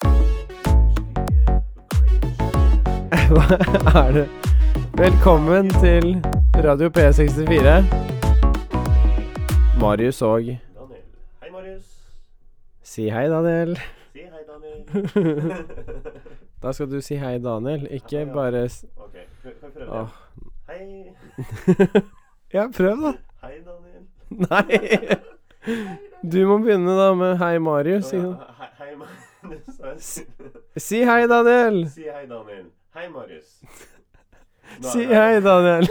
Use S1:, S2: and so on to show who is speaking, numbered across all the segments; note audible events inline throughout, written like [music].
S1: [laughs] Hva er det? Velkommen til Radio P64. Marius og
S2: Daniel. Hei, Marius.
S1: Si hei, Daniel.
S2: Si hei, Daniel.
S1: Da skal du si hei, Daniel, ikke bare s-
S2: ok, kan kan vi prøve
S1: Åh.
S2: [laughs] igjen? Hei.
S1: Ja, prøv, da.
S2: Hei, Daniel.
S1: [laughs] Nei. Du må begynne, da, med hei, Marius.
S2: Å, ja.
S1: ikke sant?
S2: Hei, hei, Marius.
S1: Si hei, Daniel.
S2: Si hei, Daniel. Hei, Marius. Nå er
S1: Si
S2: vi her.
S1: hei, Daniel.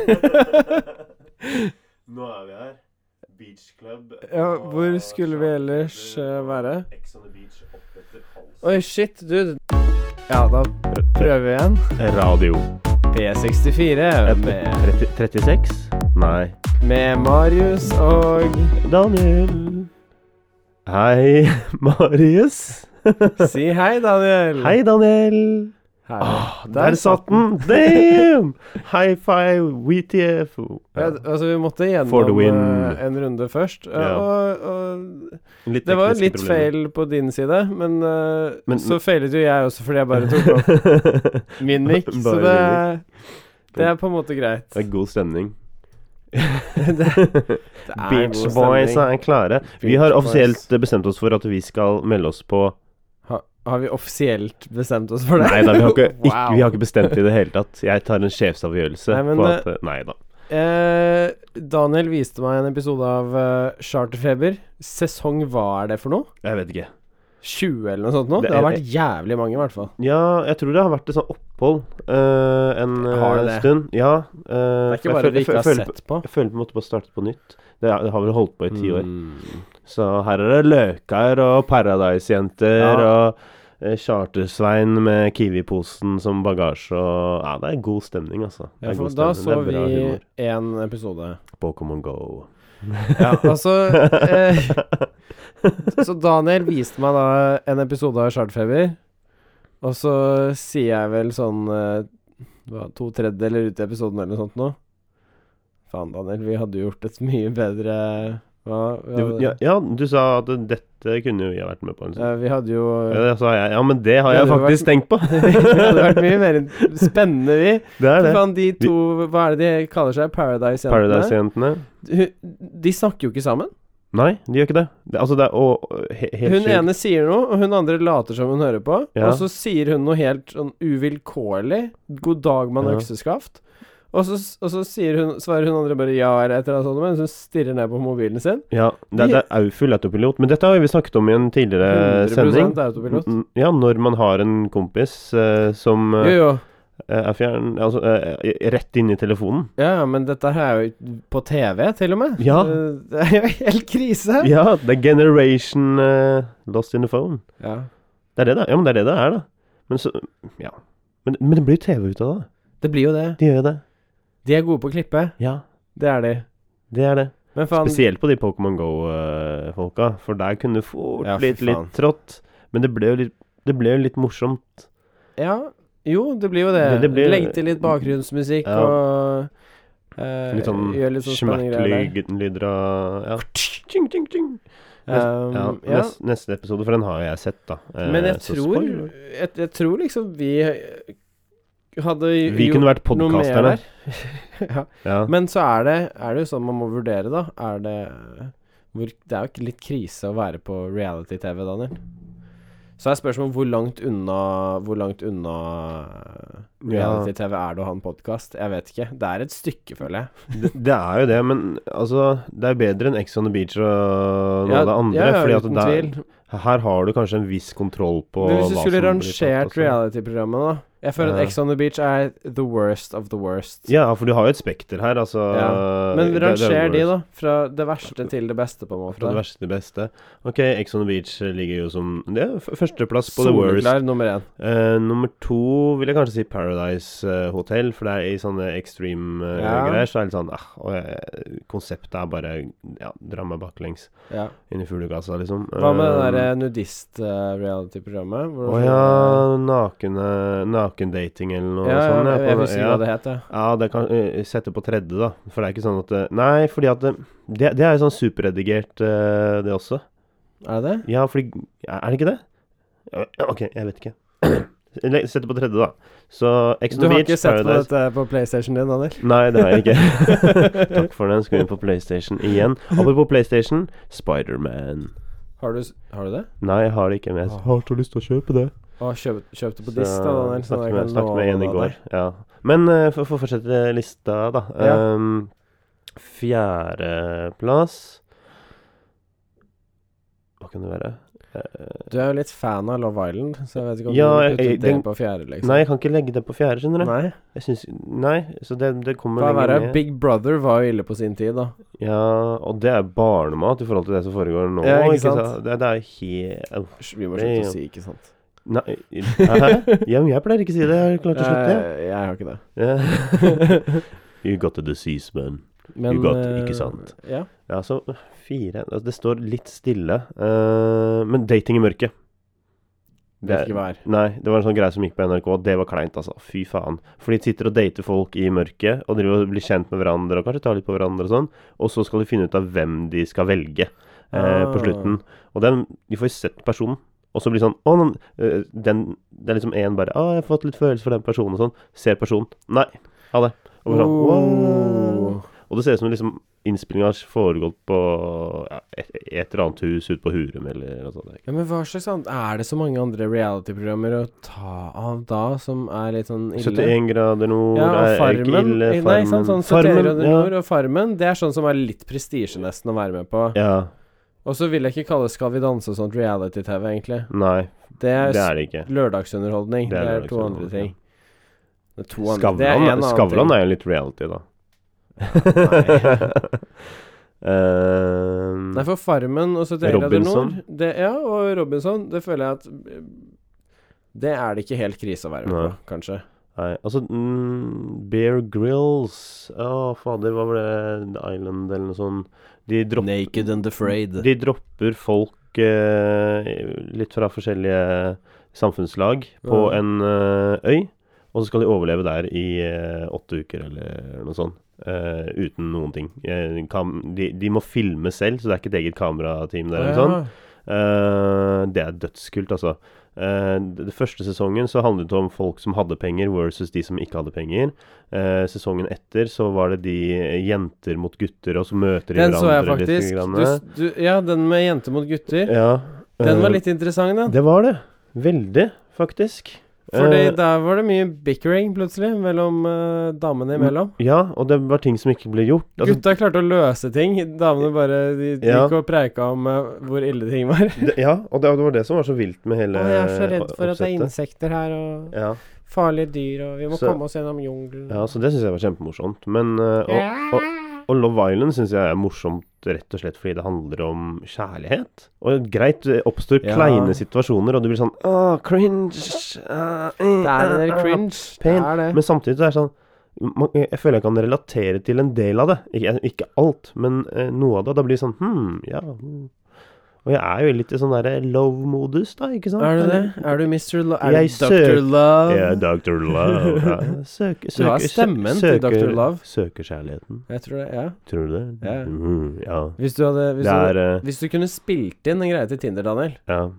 S2: [laughs]
S1: [laughs]
S2: Nå er vi her. Beach Club.
S1: Ja,
S2: og
S1: hvor skulle vi ellers eh, være?
S2: Ex on the beach oppetter halsen.
S1: Oi, shit, dude. Ja, da pr- prøver vi igjen.
S2: Radio.
S1: P64 med,
S2: 36? Nei.
S1: med Marius og
S2: Daniel. Hei, [laughs] Marius.
S1: [laughs] Si hei, Daniel.
S2: Hei, Daniel.
S1: Her.
S2: Ah, der satt den! [laughs] Damn! High five, WTF.
S1: Ja, d- altså, vi måtte
S2: For the
S1: gjennom
S2: win.
S1: eh, en runde først. eh,
S2: Ja.
S1: Og, og det var jo litt
S2: [laughs]
S1: feil på din side, men, eh,
S2: Men-
S1: så feilet jo jeg også fordi jeg bare tok opp
S2: feil. [laughs]
S1: min mic. Så
S2: Bare
S1: det, det er på en måte greit.
S2: det er god
S1: [laughs]
S2: stemning.
S1: Det er
S2: Beach
S1: god
S2: Boys
S1: stemning.
S2: er klare. Vi
S1: Beach
S2: har
S1: Boys.
S2: offisielt bestemt oss for at vi skal melde oss på
S1: Ha, har vi offisielt bestemt oss [laughs] for det?
S2: eh. Nei da, vi har ikke,
S1: Wow.
S2: ikke, vi har ikke bestemt det i det hele tatt. Jeg tar en sjefsavgjørelse
S1: Nei, men
S2: på
S1: det-
S2: at Nei da.
S1: Eh, Daniel viste meg en episode av eh, Charterfeber. Sesong hva er det for noe?
S2: Jeg vet ikke.
S1: 20 eller noe sånt nå?
S2: Det
S1: Det har
S2: er-
S1: vært jævlig mange, i hvert fall.
S2: Ja, jeg tror det har vært et sånt opphold eh, en eh,
S1: Har det?
S2: stund. Ja. eh,
S1: Det
S2: for
S1: er ikke
S2: jeg
S1: bare
S2: føler-
S1: vi
S2: jeg
S1: ikke har
S2: føler på-
S1: sett på.
S2: Jeg føler på en måte på å starte på nytt. Det, er, det har vel holdt på i ti år.
S1: Mm.
S2: Så her er det Løkar og Paradise-jenter
S1: Ja.
S2: og eh, Charter-Svein med Kiwi-posen som bagasje og Ja, det er god stemning, altså. Det
S1: Ja,
S2: er
S1: for
S2: god
S1: da
S2: stemning.
S1: så
S2: Det er bra
S1: vi
S2: humor.
S1: en episode.
S2: Pokémon Go.
S1: Ja, [laughs] altså eh,
S2: [laughs]
S1: Så Daniel viste meg da en episode av Charterfeber, og så sier jeg vel sånn eh, hva, to tredjedeler ut i episoden eller noe sånt nå. Faen, Daniel, vi hadde gjort et mye bedre hva, vi
S2: Du,
S1: hadde-
S2: ja, ja, du sa at dette kunne jo jeg vært med på. Liksom.
S1: Ja, vi hadde jo [laughs]
S2: Ja, det sa jeg. Ja, men det har
S1: Ja,
S2: jeg
S1: det har
S2: faktisk tenkt
S1: [laughs]
S2: på.
S1: Det hadde vært mye mer spennende, vi.
S2: [laughs] Det er
S1: Fy
S2: det.
S1: faen, de to Hva er det de kaller seg? Paradise-jentene?
S2: Paradise-jentene.
S1: Hun- de snakker jo ikke sammen.
S2: Nei, de gjør ikke det. det altså, det er og, og, he, helt
S1: Hun
S2: sjukt.
S1: ene sier noe, og hun andre later som hun hører på.
S2: Ja.
S1: Og så sier hun noe helt sånn uvilkårlig. 'God dag, mann,
S2: Ja.
S1: økseskaft'. Og så, og så sier hun, svarer hun andre bare ja eller et eller annet sånt, mens hun stirrer ned på mobilen sin.
S2: Ja, det, det er jo full autopilot. Men dette har jo vi snakket om i en tidligere
S1: 100
S2: Eh, sending. Mm,
S1: autopilot.
S2: N- Ja, når man har en kompis eh, som
S1: Jo,
S2: eh,
S1: jo.
S2: er fjern... Altså, eh, rett inn i telefonen.
S1: Ja, men dette her er jo på TV, til og med.
S2: Ja.
S1: Eh, Det er jo helt krise.
S2: Ja, det er generation eh, lost in the phone.
S1: Ja.
S2: Det er det, da. Ja, men det er det det er, da. Men så Ja. Men, men det blir jo TV ut av det.
S1: Det blir jo det.
S2: De gjør jo det.
S1: De er gode på å klippe.
S2: Ja,
S1: Det er de.
S2: det er det.
S1: Men faen
S2: Spesielt på de Pokémon Go-folka, for der kunne det fort
S1: Ja, fy
S2: blitt litt
S1: faen.
S2: trått. Men det ble jo litt, det ble jo litt morsomt.
S1: Ja. Jo, det blir jo det.
S2: Det- det blir-
S1: Legg til litt bakgrunnsmusikk
S2: Ja.
S1: og eh,
S2: Litt sånn,
S1: Gjør litt sånn spennende greier.
S2: smertelyder og ja. Tjing, tjing, tjing.
S1: der. Um,
S2: Ja,
S1: ja.
S2: nes- neste episode, for den har jeg sett, da. Eh,
S1: Men jeg
S2: så
S1: tror
S2: spoiler.
S1: jeg, jeg tror liksom vi eh, hadde
S2: Vi kunne vært
S1: noe mer
S2: podkasterne.
S1: der. [laughs] ja.
S2: Ja.
S1: Men så er det, er det jo sånn man må vurdere, da. Er det hvor, Det er jo ikke litt krise å være på reality-TV, Daniel. Så er spørsmålet hvor langt unna Hvor langt unna
S2: Ja.
S1: reality-TV er det å ha en podkast? Jeg vet ikke. Det er et stykke, føler jeg.
S2: det, det er jo det, men altså Det er bedre enn Ex on the Beach og noe
S1: Ja,
S2: av det andre.
S1: ja, ja,
S2: fordi at
S1: uten
S2: der,
S1: tvil.
S2: her har du kanskje en viss kontroll på
S1: Men hvis du
S2: hva
S1: skulle
S2: som blir tatt,
S1: rangert
S2: altså.
S1: reality-programmene, da Jeg føler
S2: Ja.
S1: at Ex on the Beach er the worst of the worst.
S2: Ja, for du har jo et spekter her, altså.
S1: Men
S2: det- det er
S1: ranger de,
S2: worst.
S1: da. Fra det verste til det beste, på en måte.
S2: Fra det verste til det beste. Ok, Ex on the Beach ligger jo som Det er f- førsteplass på the worst.
S1: Soleklar nummer én.
S2: Eh, nummer to vil jeg kanskje si Paradise eh, Hotel, for det er i sånne extreme eh,
S1: Ja.
S2: greier. Så er det litt sånn ah, og, eh, Konseptet er bare ja, dra meg baklengs
S1: Ja.
S2: inn i fuglekassa, liksom.
S1: Hva med eh, det
S2: Eh,
S1: derre nudist-reality-programmet?
S2: Å ja, nakne, nakendating eller noe
S1: ja, ja,
S2: sånt.
S1: jeg,
S2: på
S1: jeg
S2: det-
S1: husker ikke
S2: ja.
S1: hva det het, jeg.
S2: Ja, det kan eh, sette på tredje, da. For det er ikke sånn at det- Nei, fordi at det, det, det er jo sånn superredigert, eh, det også.
S1: Er det det?
S2: Ja, fordi Er det ikke [clears throat] det? Ja, Ok, jeg vet ikke. Eller, Sett det på tredje, da. Så Ex
S1: Du
S2: on the
S1: har
S2: Beach,
S1: ikke sett på
S2: Paradise
S1: dette på PlayStation din, Daniel?
S2: Nei, det har jeg ikke. [laughs]
S1: [laughs]
S2: Takk for den. Skal vi inn på PlayStation igjen. Apropos PlayStation, Spiderman.
S1: Har du, s- har du det?
S2: Nei, jeg har det ikke med. Jeg har så lyst til å kjøpe det.
S1: Å, kjøp, kjøp det på
S2: Så,
S1: disk, da, Daniel. Sånn at
S2: snakket
S1: jeg
S2: med,
S1: kan
S2: snakket med
S1: låne
S2: en i
S1: det
S2: går.
S1: der.
S2: Ja. Men eh, for, for å fortsette lista, da
S1: Ja.
S2: um, Fjerdeplass Hva kan det være? Eh,
S1: Du er jo litt fan av Love Island, så jeg vet ikke om
S2: Ja,
S1: du
S2: jeg-
S1: putter
S2: jeg-
S1: det
S2: den-
S1: på fjerde, liksom.
S2: nei, jeg kan ikke legge det på fjerde, skjønner du. Nei,
S1: Nei.
S2: jeg synes, nei så det, det kommer
S1: Hva er
S2: lenger
S1: verre?
S2: ned.
S1: Big Brother var jo ille på sin tid, da.
S2: Ja, og det er barnemat i forhold til det som foregår nå.
S1: Ja, ikke
S2: ikke sant?
S1: sant?
S2: Det, det er jo helt
S1: Hysj, Vi må slutte
S2: Damn.
S1: å si 'ikke sant'.
S2: Nei i- Hæ? Ja, men jeg pleier ikke å si det. Jeg har klart å slutte, jeg.
S1: Eh, jeg har ikke det.
S2: [laughs] Ja. You got the disease, man.
S1: Men
S2: got
S1: eh,
S2: ikke sant.
S1: Ja.
S2: Ja, så fire altså, Det står litt stille. eh, men dating i mørket.
S1: Vet ikke hva er.
S2: Nei, det var en sånn greie som gikk på NRK, og det var kleint, altså. Fy faen. For de sitter og dater folk i mørket, og driver og blir kjent med hverandre, og kanskje tar litt på hverandre og sånn, og så skal de finne ut av hvem de skal velge eh,
S1: Ah.
S2: på slutten. Og den, de får jo sett personen, og så blir det sånn Å, den, eh, den Det er liksom én bare Å, jeg har fått litt følelse for den personen og sånn. Ser personen. Nei. Ha det. Og, sånn,
S1: Oh.
S2: «Wow». og det ser ut som liksom innspillinga har foregått på ja, et, et eller annet hus ute på Hurum eller noe sånt.
S1: Ja, men hva slags annet Er det så mange andre reality-programmer å ta av da, som er litt sånn ille?
S2: 71 grader nord
S1: ja, og
S2: er ikke
S1: Farmen.
S2: ille.
S1: Nei, ikke sant, sånn 71 grader
S2: ja.
S1: nord og Farmen, det er sånn som er litt prestisje nesten å være med på.
S2: ja.
S1: Og så vil jeg ikke kalle Skal vi danse og sånt reality-TV, egentlig.
S2: Nei,
S1: Det er,
S2: det er det ikke.
S1: lørdagsunderholdning.
S2: Det
S1: Det
S2: er
S1: er, to andre
S2: lørdagsunderholdning,
S1: ting. Det er to andre det er en
S2: Skavlan,
S1: annen
S2: Skavlan
S1: ting.
S2: er jo litt reality,
S1: [laughs]
S2: da. [laughs] Ehm,
S1: Nei, for Farmen og 71 grader nord
S2: Robinson.
S1: det, Ja, og Robinson, det føler jeg at eh, Det er det ikke helt krise å være med
S2: Nei.
S1: på, kanskje.
S2: nei, altså mm, Bear Grills Å, fader, hva var det? The Island eller noe sånt. De, dropp,
S1: Naked and afraid.
S2: de dropper folk eh, litt fra forskjellige samfunnslag på
S1: Ja.
S2: en eh, øy, og så skal de overleve der i eh, åtte uker eller noe sånt. eh, uten noen ting. Eh, kam de, de må filme selv, så det er ikke et eget kamerateam der. eller noe sånt. Eh, det er dødskult, altså. Eh, d- den første sesongen så handlet det om folk som hadde penger versus de som ikke hadde penger. Eh, sesongen etter så var det de eh, jenter mot gutter, og så møter de
S1: Den så jeg
S2: hverandre
S1: faktisk.
S2: grann.
S1: Du, du, ja, den med jenter mot gutter.
S2: ja,
S1: Den var
S2: eh,
S1: litt interessant, den.
S2: Det var det. Veldig, faktisk.
S1: Fordi
S2: Eh,
S1: der var det mye bickering plutselig mellom eh, damene imellom.
S2: ja, og det var ting som ikke ble gjort. Altså,
S1: Gutta klarte å løse ting. Damene bare de, de
S2: Ja.
S1: gikk og preika om eh, hvor ille ting var.
S2: det, ja, og det, det var det som var så vilt med hele
S1: Å, jeg er så redd for at det er
S2: oppsettet.
S1: insekter her, og
S2: Ja,
S1: farlige dyr, og vi må
S2: Så-
S1: komme oss gjennom jungelen.
S2: ja, så det syns jeg var kjempemorsomt. Men eh, og, Og Love Island syns jeg er morsomt rett og slett fordi det handler om kjærlighet. Og greit, det oppstår
S1: Ja.
S2: kleine situasjoner, og du blir sånn Åh, cringe. ah, eh,
S1: det er en del
S2: ah, ah».
S1: cringe. Det
S2: Pain.
S1: er det.
S2: Men samtidig så er det sånn man, Jeg føler jeg kan relatere til en del av det. Ikke, ikke alt, men eh, noe av det. Og da blir det sånn Hm, ja. mm». Og jeg er jo litt i sånn derre love-modus, da, ikke sant?
S1: Er du det? Er du Mr. Love? Er
S2: Jeg
S1: du Dr.
S2: søker-
S1: Love?
S2: Ja, Dr. Love. Ja.
S1: [laughs]
S2: Søker, søker,
S1: Du har stemmen til
S2: søker,
S1: Dr. Love.
S2: Søker kjærligheten.
S1: Jeg tror det, ja.
S2: Tror du det?
S1: Ja.
S2: Mm, ja.
S1: Hvis du hadde
S2: Det
S1: hvis du,
S2: er eh,
S1: Hvis du kunne spilt inn en greie til Tinder, Daniel,
S2: Ja.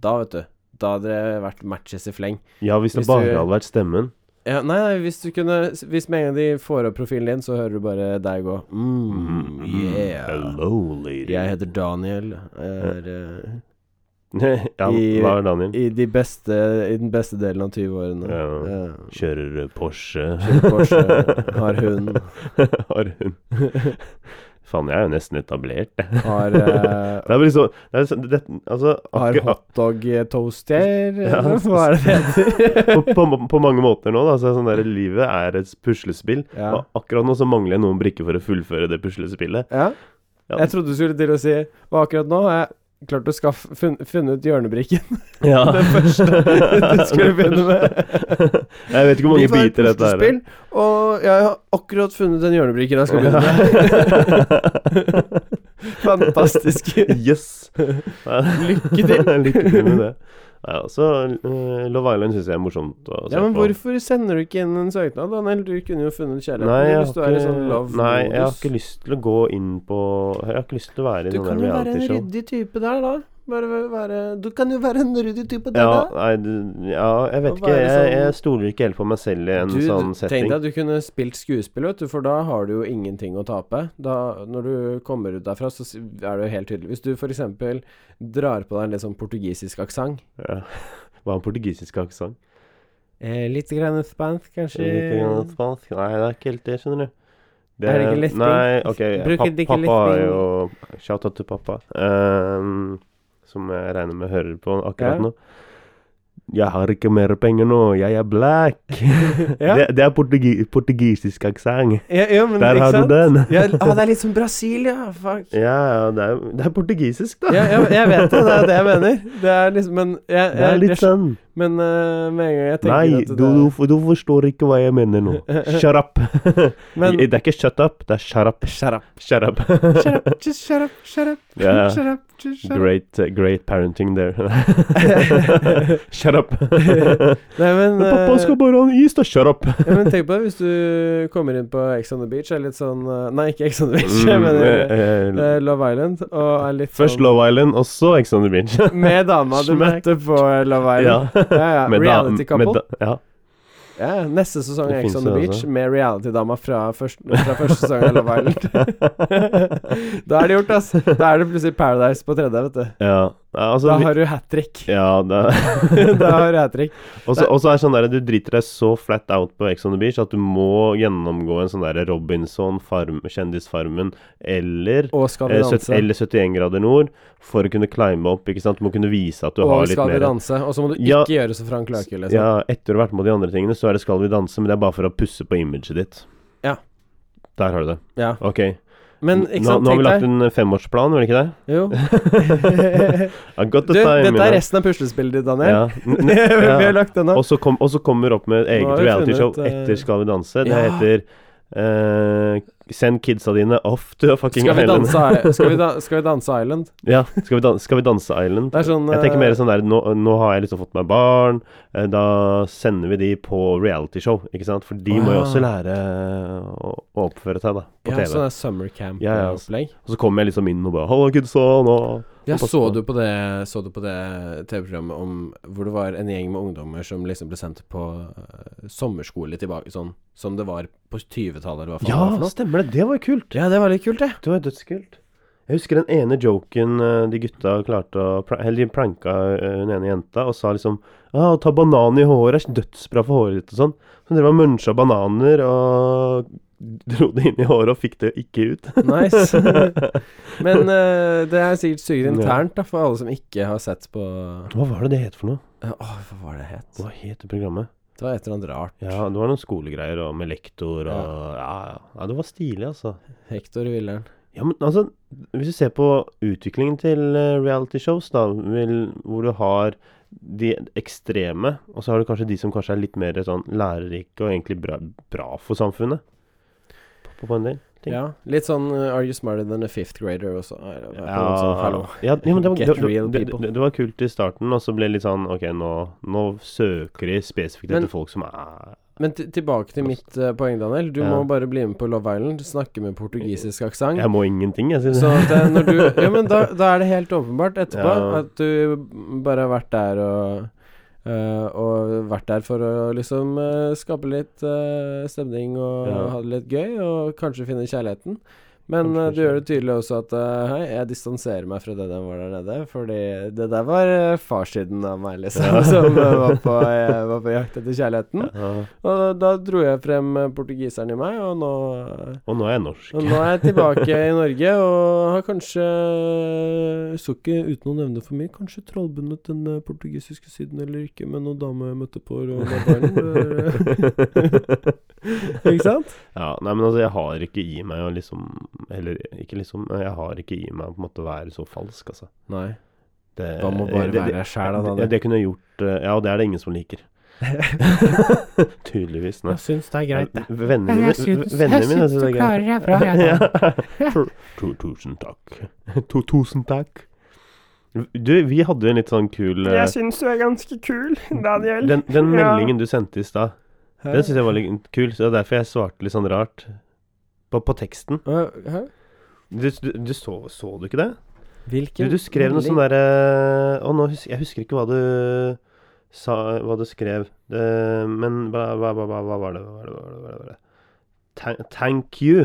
S1: da vet du Da hadde det vært matches i fleng.
S2: Ja, hvis det
S1: Hvis
S2: bare
S1: du-
S2: hadde vært stemmen.
S1: Ja, nei, nei, hvis du kunne Hvis med en gang de får opp profilen din, så hører du bare deg gå mm, Yeah.
S2: Hello, lady. [laughs]
S1: Jeg heter Daniel. Er eh,
S2: ja,
S1: I-
S2: hva er Daniel?
S1: i, de beste, i den beste delen av 20-årene.
S2: Ja.
S1: Ja.
S2: Kjører eh, Porsche. [laughs]
S1: Kjører Porsche, har hund.
S2: har hund. Faen, jeg er jo nesten etablert, jeg.
S1: Har, eh,
S2: Det er vel så det er så, det, Altså
S1: har
S2: akkurat-
S1: hotdog-toaster?
S2: Ja.
S1: [laughs] Hva er det det heter?
S2: på, [laughs] på, på mange måter nå, da. Så er det sånn der, livet er et puslespill.
S1: ja.
S2: Og akkurat nå så mangler jeg noen brikker for å fullføre det puslespillet.
S1: ja.
S2: Ja.
S1: Jeg trodde du skulle til å si Og akkurat nå har jeg klart å skaffe, funn, funnet hjørnebrikken.
S2: [laughs] Ja.
S1: Det [laughs] første du skulle begynne med.
S2: [laughs] Jeg vet ikke hvor mange
S1: Livet er et
S2: biter dette er.
S1: puslespill, Og jeg har akkurat funnet den hjørnebrikken jeg skal begynne
S2: [laughs]
S1: med. Fantastisk.
S2: Yes! Lykke
S1: til.
S2: [laughs] Lykke til med det. Ja, så eh, Love Island syns jeg er morsomt å se
S1: Ja, men
S2: på.
S1: hvorfor sender du ikke inn en søknad, Daniel? Du kunne jo funnet kjærligheten
S2: Nei,
S1: din
S2: jeg
S1: hvis du
S2: har,
S1: er i
S2: ikke,
S1: sånn love
S2: nei, jeg har ikke lyst til å gå inn på Jeg har ikke lyst til å være i
S1: Du
S2: sånn
S1: kan
S2: der
S1: jo være en
S2: reality-show.
S1: ryddig type der, da. Bare væ- være Du kan jo være en ryddig type, du,
S2: Ja,
S1: da.
S2: nei, du, ja, jeg vet
S1: Og
S2: ikke.
S1: være
S2: Jeg,
S1: sånn-
S2: jeg stoler ikke helt på meg selv i en
S1: Du,
S2: sånn
S1: du- tenk
S2: setting.
S1: deg at du kunne spilt skuespill, vet du, for da har du jo ingenting å tape. Da, når du kommer ut derfra, så s- er det jo helt tydelig. Hvis du for eksempel drar på deg en litt sånn portugisisk aksent
S2: Ja. [laughs] Var han portugisisk aksent?
S1: eh, Litt grann spansk, kanskje.
S2: Litt
S1: [laughs]
S2: grann spansk? Nei, det er ikke helt det, skjønner du.
S1: Er det ikke litt
S2: Nei,
S1: spansk?
S2: ok.
S1: Bruker
S2: Pap,
S1: det ikke litt
S2: pappa er jo Shout-out til pappa, ehm, som jeg regner med hører på akkurat
S1: Ja.
S2: nå. Jeg har ikke mer penger nå, jeg er black.
S1: Ja.
S2: Det, det er portugi portugisisk aksent.
S1: Ja, ja, [laughs] men,
S2: Der
S1: ikke
S2: har du
S1: sant?
S2: den.
S1: Ja, ah, det er litt som Brasil, ja. Fuck.
S2: [laughs] Ja, ja, det er, det er portugisisk, da.
S1: Ja, ja, jeg vet det, det er det jeg mener. Det er liksom Men jeg,
S2: Det er
S1: jeg,
S2: litt
S1: jeg,
S2: sånn
S1: men eh, med en gang jeg tenker
S2: Nei,
S1: at
S2: du,
S1: det
S2: du, f- du forstår ikke hva jeg mener
S1: [laughs]
S2: nå. Shut up.
S1: Men
S2: det er ikke shut up, det er shut up.
S1: Shut up.
S2: Shut up.
S1: Shut up, just shut up, shut up.
S2: [laughs] Ja.
S1: Shut up, just shut up.
S2: Great, uh, great parenting
S1: [laughs]
S2: there. shut up.
S1: Nei, men,
S2: Men pappa
S1: eh,
S2: skal bare ha en is, da. Shut
S1: [laughs]
S2: up.
S1: ja, men tenk på det, hvis du kommer inn på Ex on the Beach, er litt sånn eh, Nei, ikke Ex on the Beach, jeg
S2: Mm,
S1: mener eh,
S2: eh, eh,
S1: Love Island, og er litt
S2: Først
S1: sånn
S2: Love Island, og så Ex on the Beach.
S1: Med dama du
S2: Smack.
S1: møtte på
S2: [laughs]
S1: Love
S2: ja.
S1: Island. Ja, ja.
S2: Med da-
S1: Reality
S2: med
S1: couple.
S2: da-
S1: [laughs]
S2: ja. [laughs]
S1: Ja, neste sesong
S2: Det
S1: av Ex
S2: finnes
S1: on the
S2: det,
S1: Beach
S2: altså.
S1: med reality-dama fra, først, fra første sesong av Love Island. da er det gjort, ass. Da er det plutselig Paradise på tredje, vet du.
S2: Ja. ja, altså
S1: Da
S2: vi-
S1: har du hat trick.
S2: [laughs] ja, det
S1: [laughs] da har du hat trick.
S2: Og så og så er det sånn der, du driter deg så flat out på Ex on the Beach at du må gjennomgå en sånn der Robinson, farm, Kjendisfarmen eller
S1: Og skal vi
S2: eh, sytt-
S1: danse.
S2: eller 71 grader nord for å kunne climbe opp. ikke sant? Du må kunne vise at du
S1: Og
S2: har litt
S1: skal vi
S2: mer
S1: danse. Og så må du ikke
S2: Ja.
S1: gjøre som Frank Løke, liksom.
S2: Ja, etter å ha vært med på de andre tingene, så er det 'Skal vi danse', men det er bare for å pusse på imaget ditt.
S1: Ja.
S2: Der har du det.
S1: Ja.
S2: Ok.
S1: Men
S2: N-
S1: ikke
S2: nå,
S1: sant,
S2: nå har vi lagt
S1: tenk deg
S2: en femårsplan, var det ikke det? [laughs]
S1: Jo.
S2: I got
S1: du,
S2: the time, you
S1: dette
S2: know.
S1: er resten av puslespillet ditt, [laughs] Daniel.
S2: Ja. N-
S1: vi
S2: ja.
S1: har lagt den opp.
S2: Og så, kom, og så kommer opp med et
S1: Nå har
S2: eget
S1: vi
S2: realityshow
S1: funnet, eh,
S2: etter Skal vi danse. Det
S1: ja.
S2: heter eh, Send kidsa dine off to fucking
S1: Skal vi,
S2: Island.
S1: danse, skal, vi da, skal vi danse Island?
S2: [laughs] ja, skal vi, dan skal vi danse Island?
S1: Det er sånn
S2: Jeg tenker
S1: eh,
S2: mer sånn der Nå, nå har jeg liksom fått meg barn. eh, Da sender vi de på realityshow, ikke sant? For de
S1: Å,
S2: må jo
S1: ja.
S2: også lære eh, å, å oppføre seg, da. På
S1: ja,
S2: TV.
S1: sånn der summer camp-opplegg.
S2: Ja, ja, ass. Og så kommer jeg liksom inn og bare Hallo, kidsa, nå
S1: Ja,
S2: Og passe
S1: så
S2: på.
S1: du på det, så du på det TV-programmet om hvor det var en gjeng med ungdommer som liksom ble sendt på eh, sommerskole tilbake, sånn som det var på 20-tallet, eller hva faen
S2: Ja,
S1: det var for noe?
S2: stemmer det. Det var jo kult.
S1: Ja, det var litt kult, det.
S2: Det var dødskult. Jeg husker den ene joken eh, de gutta klarte å pra- Eller de pranka eh, den ene jenta og sa liksom Ja, å ta banan i håret er dødsbra for håret ditt og sånn. Så dere var muncha bananer og [laughs] dro det inn i håret og fikk det ikke ut. [laughs]
S1: Nice. Men eh, det er sikkert sykt
S2: Ja.
S1: internt, da, for alle som ikke har sett på
S2: Hva var det det het for noe?
S1: Eh, Åh, hva var det det het?
S2: Hva het det programmet?
S1: Det var et eller annet rart.
S2: Ja, det var noen skolegreier og med lektor og Ja, ja. ja det var stilig, altså.
S1: Hector Villern.
S2: Ja, men altså, hvis du ser på utviklingen til eh, reality shows, da, vil, hvor du har de ekstreme, og så har du kanskje de som kanskje er litt mer sånn lærerike og egentlig bra, bra for samfunnet. På, på en del. Ting.
S1: Ja, litt sånn eh, Are you smarter than a fifth grader også? Ja, det var på en måte sånn, hallo.
S2: ja, ja, men det, var,
S1: Get
S2: det,
S1: real
S2: det,
S1: people.
S2: det, det var kult i starten, og så ble det litt sånn Ok, nå, nå søker de spesifikt
S1: Men-
S2: etter folk som er
S1: Men ti- tilbake til mitt eh, poeng, Daniel. Du
S2: Ja.
S1: må bare bli med på Love Island, snakke med portugisisk aksent.
S2: Jeg må ingenting, jeg, sier
S1: Sånn at eh, når du Ja, men da, da er det helt åpenbart etterpå
S2: Ja.
S1: at du bare har vært der og eh, og vært der for å liksom eh, skape litt eh, stemning og
S2: Ja.
S1: ha det litt gøy, og kanskje finne kjærligheten. Men
S2: Kanskje
S1: eh, du gjør det
S2: kjærligheten.
S1: tydelig også at eh, Hei, jeg distanserer meg fra det der var der nede, fordi det der var eh, farssiden av meg, liksom,
S2: Ja.
S1: [laughs] som eh, var, på, eh, var på jakt etter kjærligheten.
S2: [laughs] Ja,
S1: Og da, da dro jeg frem eh, portugiseren i meg, og nå eh,
S2: og nå er jeg norsk.
S1: og nå er jeg tilbake i Norge og har kanskje Jeg så ikke uten å nevne for mye, kanskje trollbundet den eh, portugisiske siden eller ikke med noen dame jeg møtte på
S2: [laughs]
S1: Rådabaren. [laughs] ikke sant?
S2: Ja, nei, men altså, jeg har ikke i meg å liksom Eller ikke liksom men Jeg har ikke i meg å på en måte være så falsk, altså.
S1: Nei.
S2: Det,
S1: Da må bare
S2: det,
S1: være deg sjæl, da.
S2: det, ja,
S1: Daniel.
S2: det kunne jeg gjort eh, Ja, og det er det ingen som
S1: [laughs]
S2: liker. Tydeligvis. Nei.
S1: syns det er
S2: Vennene mine Vennene mine syns det er greit.
S1: deg [laughs]
S2: [laughs] Ja. Tu- tu- Tusen takk. [laughs] Tu- Tusen takk. Du, vi hadde en litt sånn kul eh,
S1: syns du er ganske kul,
S2: Den, den meldingen du sendte i stad, den syns jeg var litt kul. Så det er derfor jeg svarte litt sånn rart på, på teksten.
S1: Hæ?
S2: Du, du, du så, så du ikke det?
S1: Hvilken
S2: Du, du skrev noe sånn derre Å, nå husker jeg husker ikke hva du sa Hva du skrev. Det- men hva, hva, hva, hva, hva var det? Hva var det, hva var det, hva var det? Ta- Thank you.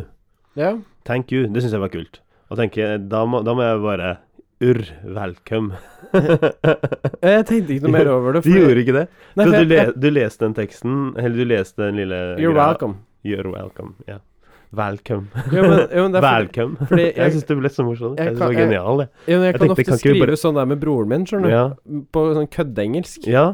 S1: Ja.
S2: Thank you. Det syns jeg var kult. Og tenker, da, må, da må jeg bare Urr, [laughs] velkom.
S1: Jeg tenkte ikke noe mer over det.
S2: De gjorde ikke det.
S1: Nei,
S2: du,
S1: for
S2: du,
S1: jeg-
S2: le, du leste den teksten Eller du leste den lille
S1: You're
S2: greia.
S1: welcome.
S2: You're welcome. Ja. Welcome.
S1: Jo, men, jo, men det er fordi-
S2: Welcome.
S1: fordi jeg-
S2: [laughs] jeg syns det ble så morsomt.
S1: jeg
S2: Jeg, synes
S1: kan-
S2: det var
S1: jeg-
S2: genial, det.
S1: jo, men jeg
S2: Jeg
S1: kan
S2: tenkte,
S1: ofte
S2: kan ikke vi
S1: skrive
S2: bare-
S1: sånn der med broren min, skjønner du.
S2: Ja.
S1: På sånn køddeengelsk.
S2: ja.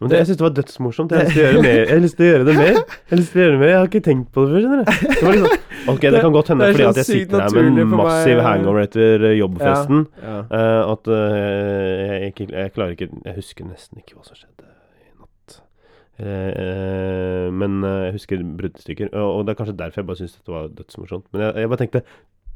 S2: Men det, jeg syns det var dødsmorsomt. Jeg har lyst til å gjøre, mer. Jeg har lyst til å gjøre det mer. Jeg har lyst til å gjøre det mer Jeg har ikke tenkt på det før, skjønner du. Det var litt sånn- ok, det kan godt hende
S1: Det er
S2: fordi
S1: så
S2: at jeg
S1: sykt
S2: sitter her med
S1: naturlig
S2: en
S1: for meg.
S2: massiv hangover etter eh, jobbfesten.
S1: Ja.
S2: eh, at eh, jeg, ikke, jeg klarer ikke Jeg husker nesten ikke hva som skjedde i natt. Eh, eh, men eh, jeg husker bruddstykker. Og, og det er kanskje derfor jeg bare syns dette var dødsmorsomt. Men jeg, jeg bare tenkte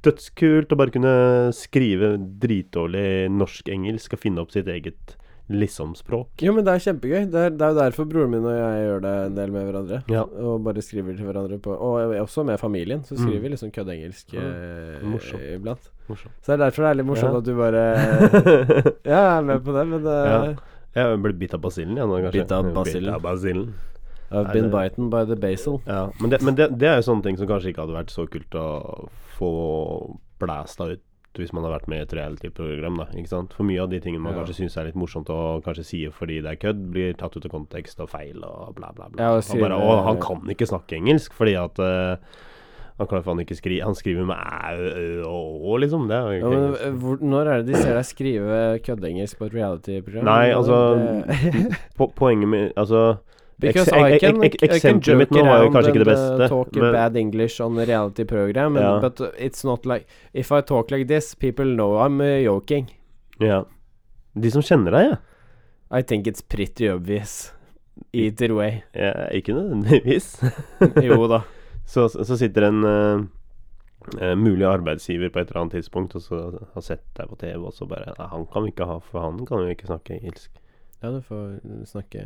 S2: dødskult å bare kunne skrive dritdårlig norsk-engelsk og finne opp sitt eget liksomspråk.
S1: Jo, men det er kjempegøy. Det er, det er jo derfor broren min og jeg gjør det en del med hverandre.
S2: Ja.
S1: Og bare skriver til hverandre på Og jeg- også med familien, så skriver vi liksom køddeengelsk
S2: Ja, Mm. morsomt.
S1: eh, iblant.
S2: Morsomt.
S1: Så det er derfor det er litt morsomt
S2: Ja.
S1: at du
S2: [laughs]
S1: bare
S2: jeg
S1: [laughs] Ja, jeg er med på det, men eh,
S2: ble bitt av basillen, jeg nå, kanskje.
S1: Bitt av basillen.
S2: Bitt av basillen.
S1: I've been bitten by the basil.
S2: Ja, men det, men det, det er jo sånne ting som kanskje ikke hadde vært så kult å få blæsta ut hvis man har vært med i et reality-program, da. Ikke sant? For mye av de tingene man
S1: Ja.
S2: kanskje syns er litt morsomt å kanskje si fordi det er kødd, blir tatt ut av kontekst og feil og bla, bla, bla.
S1: Ja, og
S2: og,
S1: skrive-
S2: bare Å, han kan ikke snakke engelsk fordi at eh, han klarer faen ikke skrive Han skriver med æ, ø, å, å, liksom. Det er jo
S1: Ja,
S2: ikke
S1: men
S2: engelsk.
S1: eh, hvor, Når er det de ser deg skrive køddeengelsk på et reality-program?
S2: Nei,
S1: Det-
S2: altså, Po poenget med Altså
S1: Because
S2: ek- ek-
S1: I can,
S2: ek- ek-
S1: I can
S2: eksempelet mitt
S1: joke
S2: nå var jo
S1: around
S2: kanskje ikke det
S1: and, uh,
S2: beste,
S1: talk
S2: men-
S1: bad English on a reality program, and,
S2: Ja.
S1: but it's not like If I talk like this, people know I'm uh, joking.
S2: Ja. De som kjenner deg, ja.
S1: I think it's pretty obvious. Either way.
S2: ja ikke nødvendigvis.
S1: [laughs] Jo da.
S2: [laughs] Så, så sitter en eh, eh, mulig arbeidsgiver på et eller annet tidspunkt og så har sett deg på TV, og så bare Nei, han kan vi ikke ha, for han kan jo ikke snakke engelsk.
S1: Ja, du får uh, snakke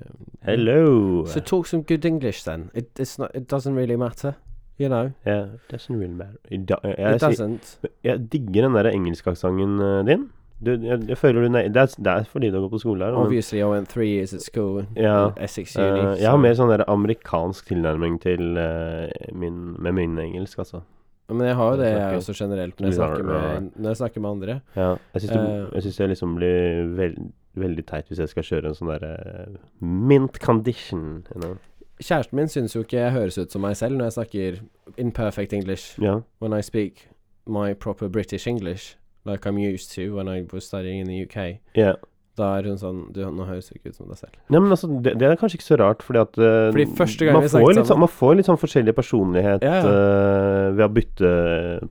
S2: Hello!
S1: So talk some good English then. It, it's not, it doesn't really matter. You know.
S2: Yeah, doesn't really matter. I da- eh,
S1: It
S2: Jeg, jeg,
S1: doesn't.
S2: jeg digger den der engelskaksenten eh, din. Du, jeg, jeg føler du nei, det, er, det er fordi du går på skole her. Men,
S1: Obviously, I went three years at school
S2: Ja,
S1: at Essex
S2: eh,
S1: Uni.
S2: jeg har mer sånn der amerikansk tilnærming til eh, min, med min engelsk, altså.
S1: Ja, Men jeg har jo det
S2: Jeg
S1: jeg
S2: snakker-
S1: også generelt når jeg
S2: Rar,
S1: snakker
S2: rar.
S1: med, når jeg snakker med andre.
S2: Ja, jeg syns det,
S1: Eh.
S2: jeg synes det liksom blir vel, veldig teit hvis jeg skal kjøre en sånn derre mint condition. You know?
S1: Kjæresten min syns jo ikke jeg høres ut som meg selv når jeg snakker in perfect English.
S2: Ja.
S1: When I speak my proper British English, like I'm used to when I was studying in the UK.
S2: ja.
S1: Da er hun sånn Du, nå høres du ikke ut som deg selv.
S2: Nei, men altså, det, det er kanskje ikke så rart, fordi at eh,
S1: Fordi første gang
S2: man,
S1: vi
S2: får
S1: snakket
S2: litt sånn,
S1: sammen-
S2: man får litt sånn forskjellig personlighet
S1: Ja, ja.
S2: eh, ved å bytte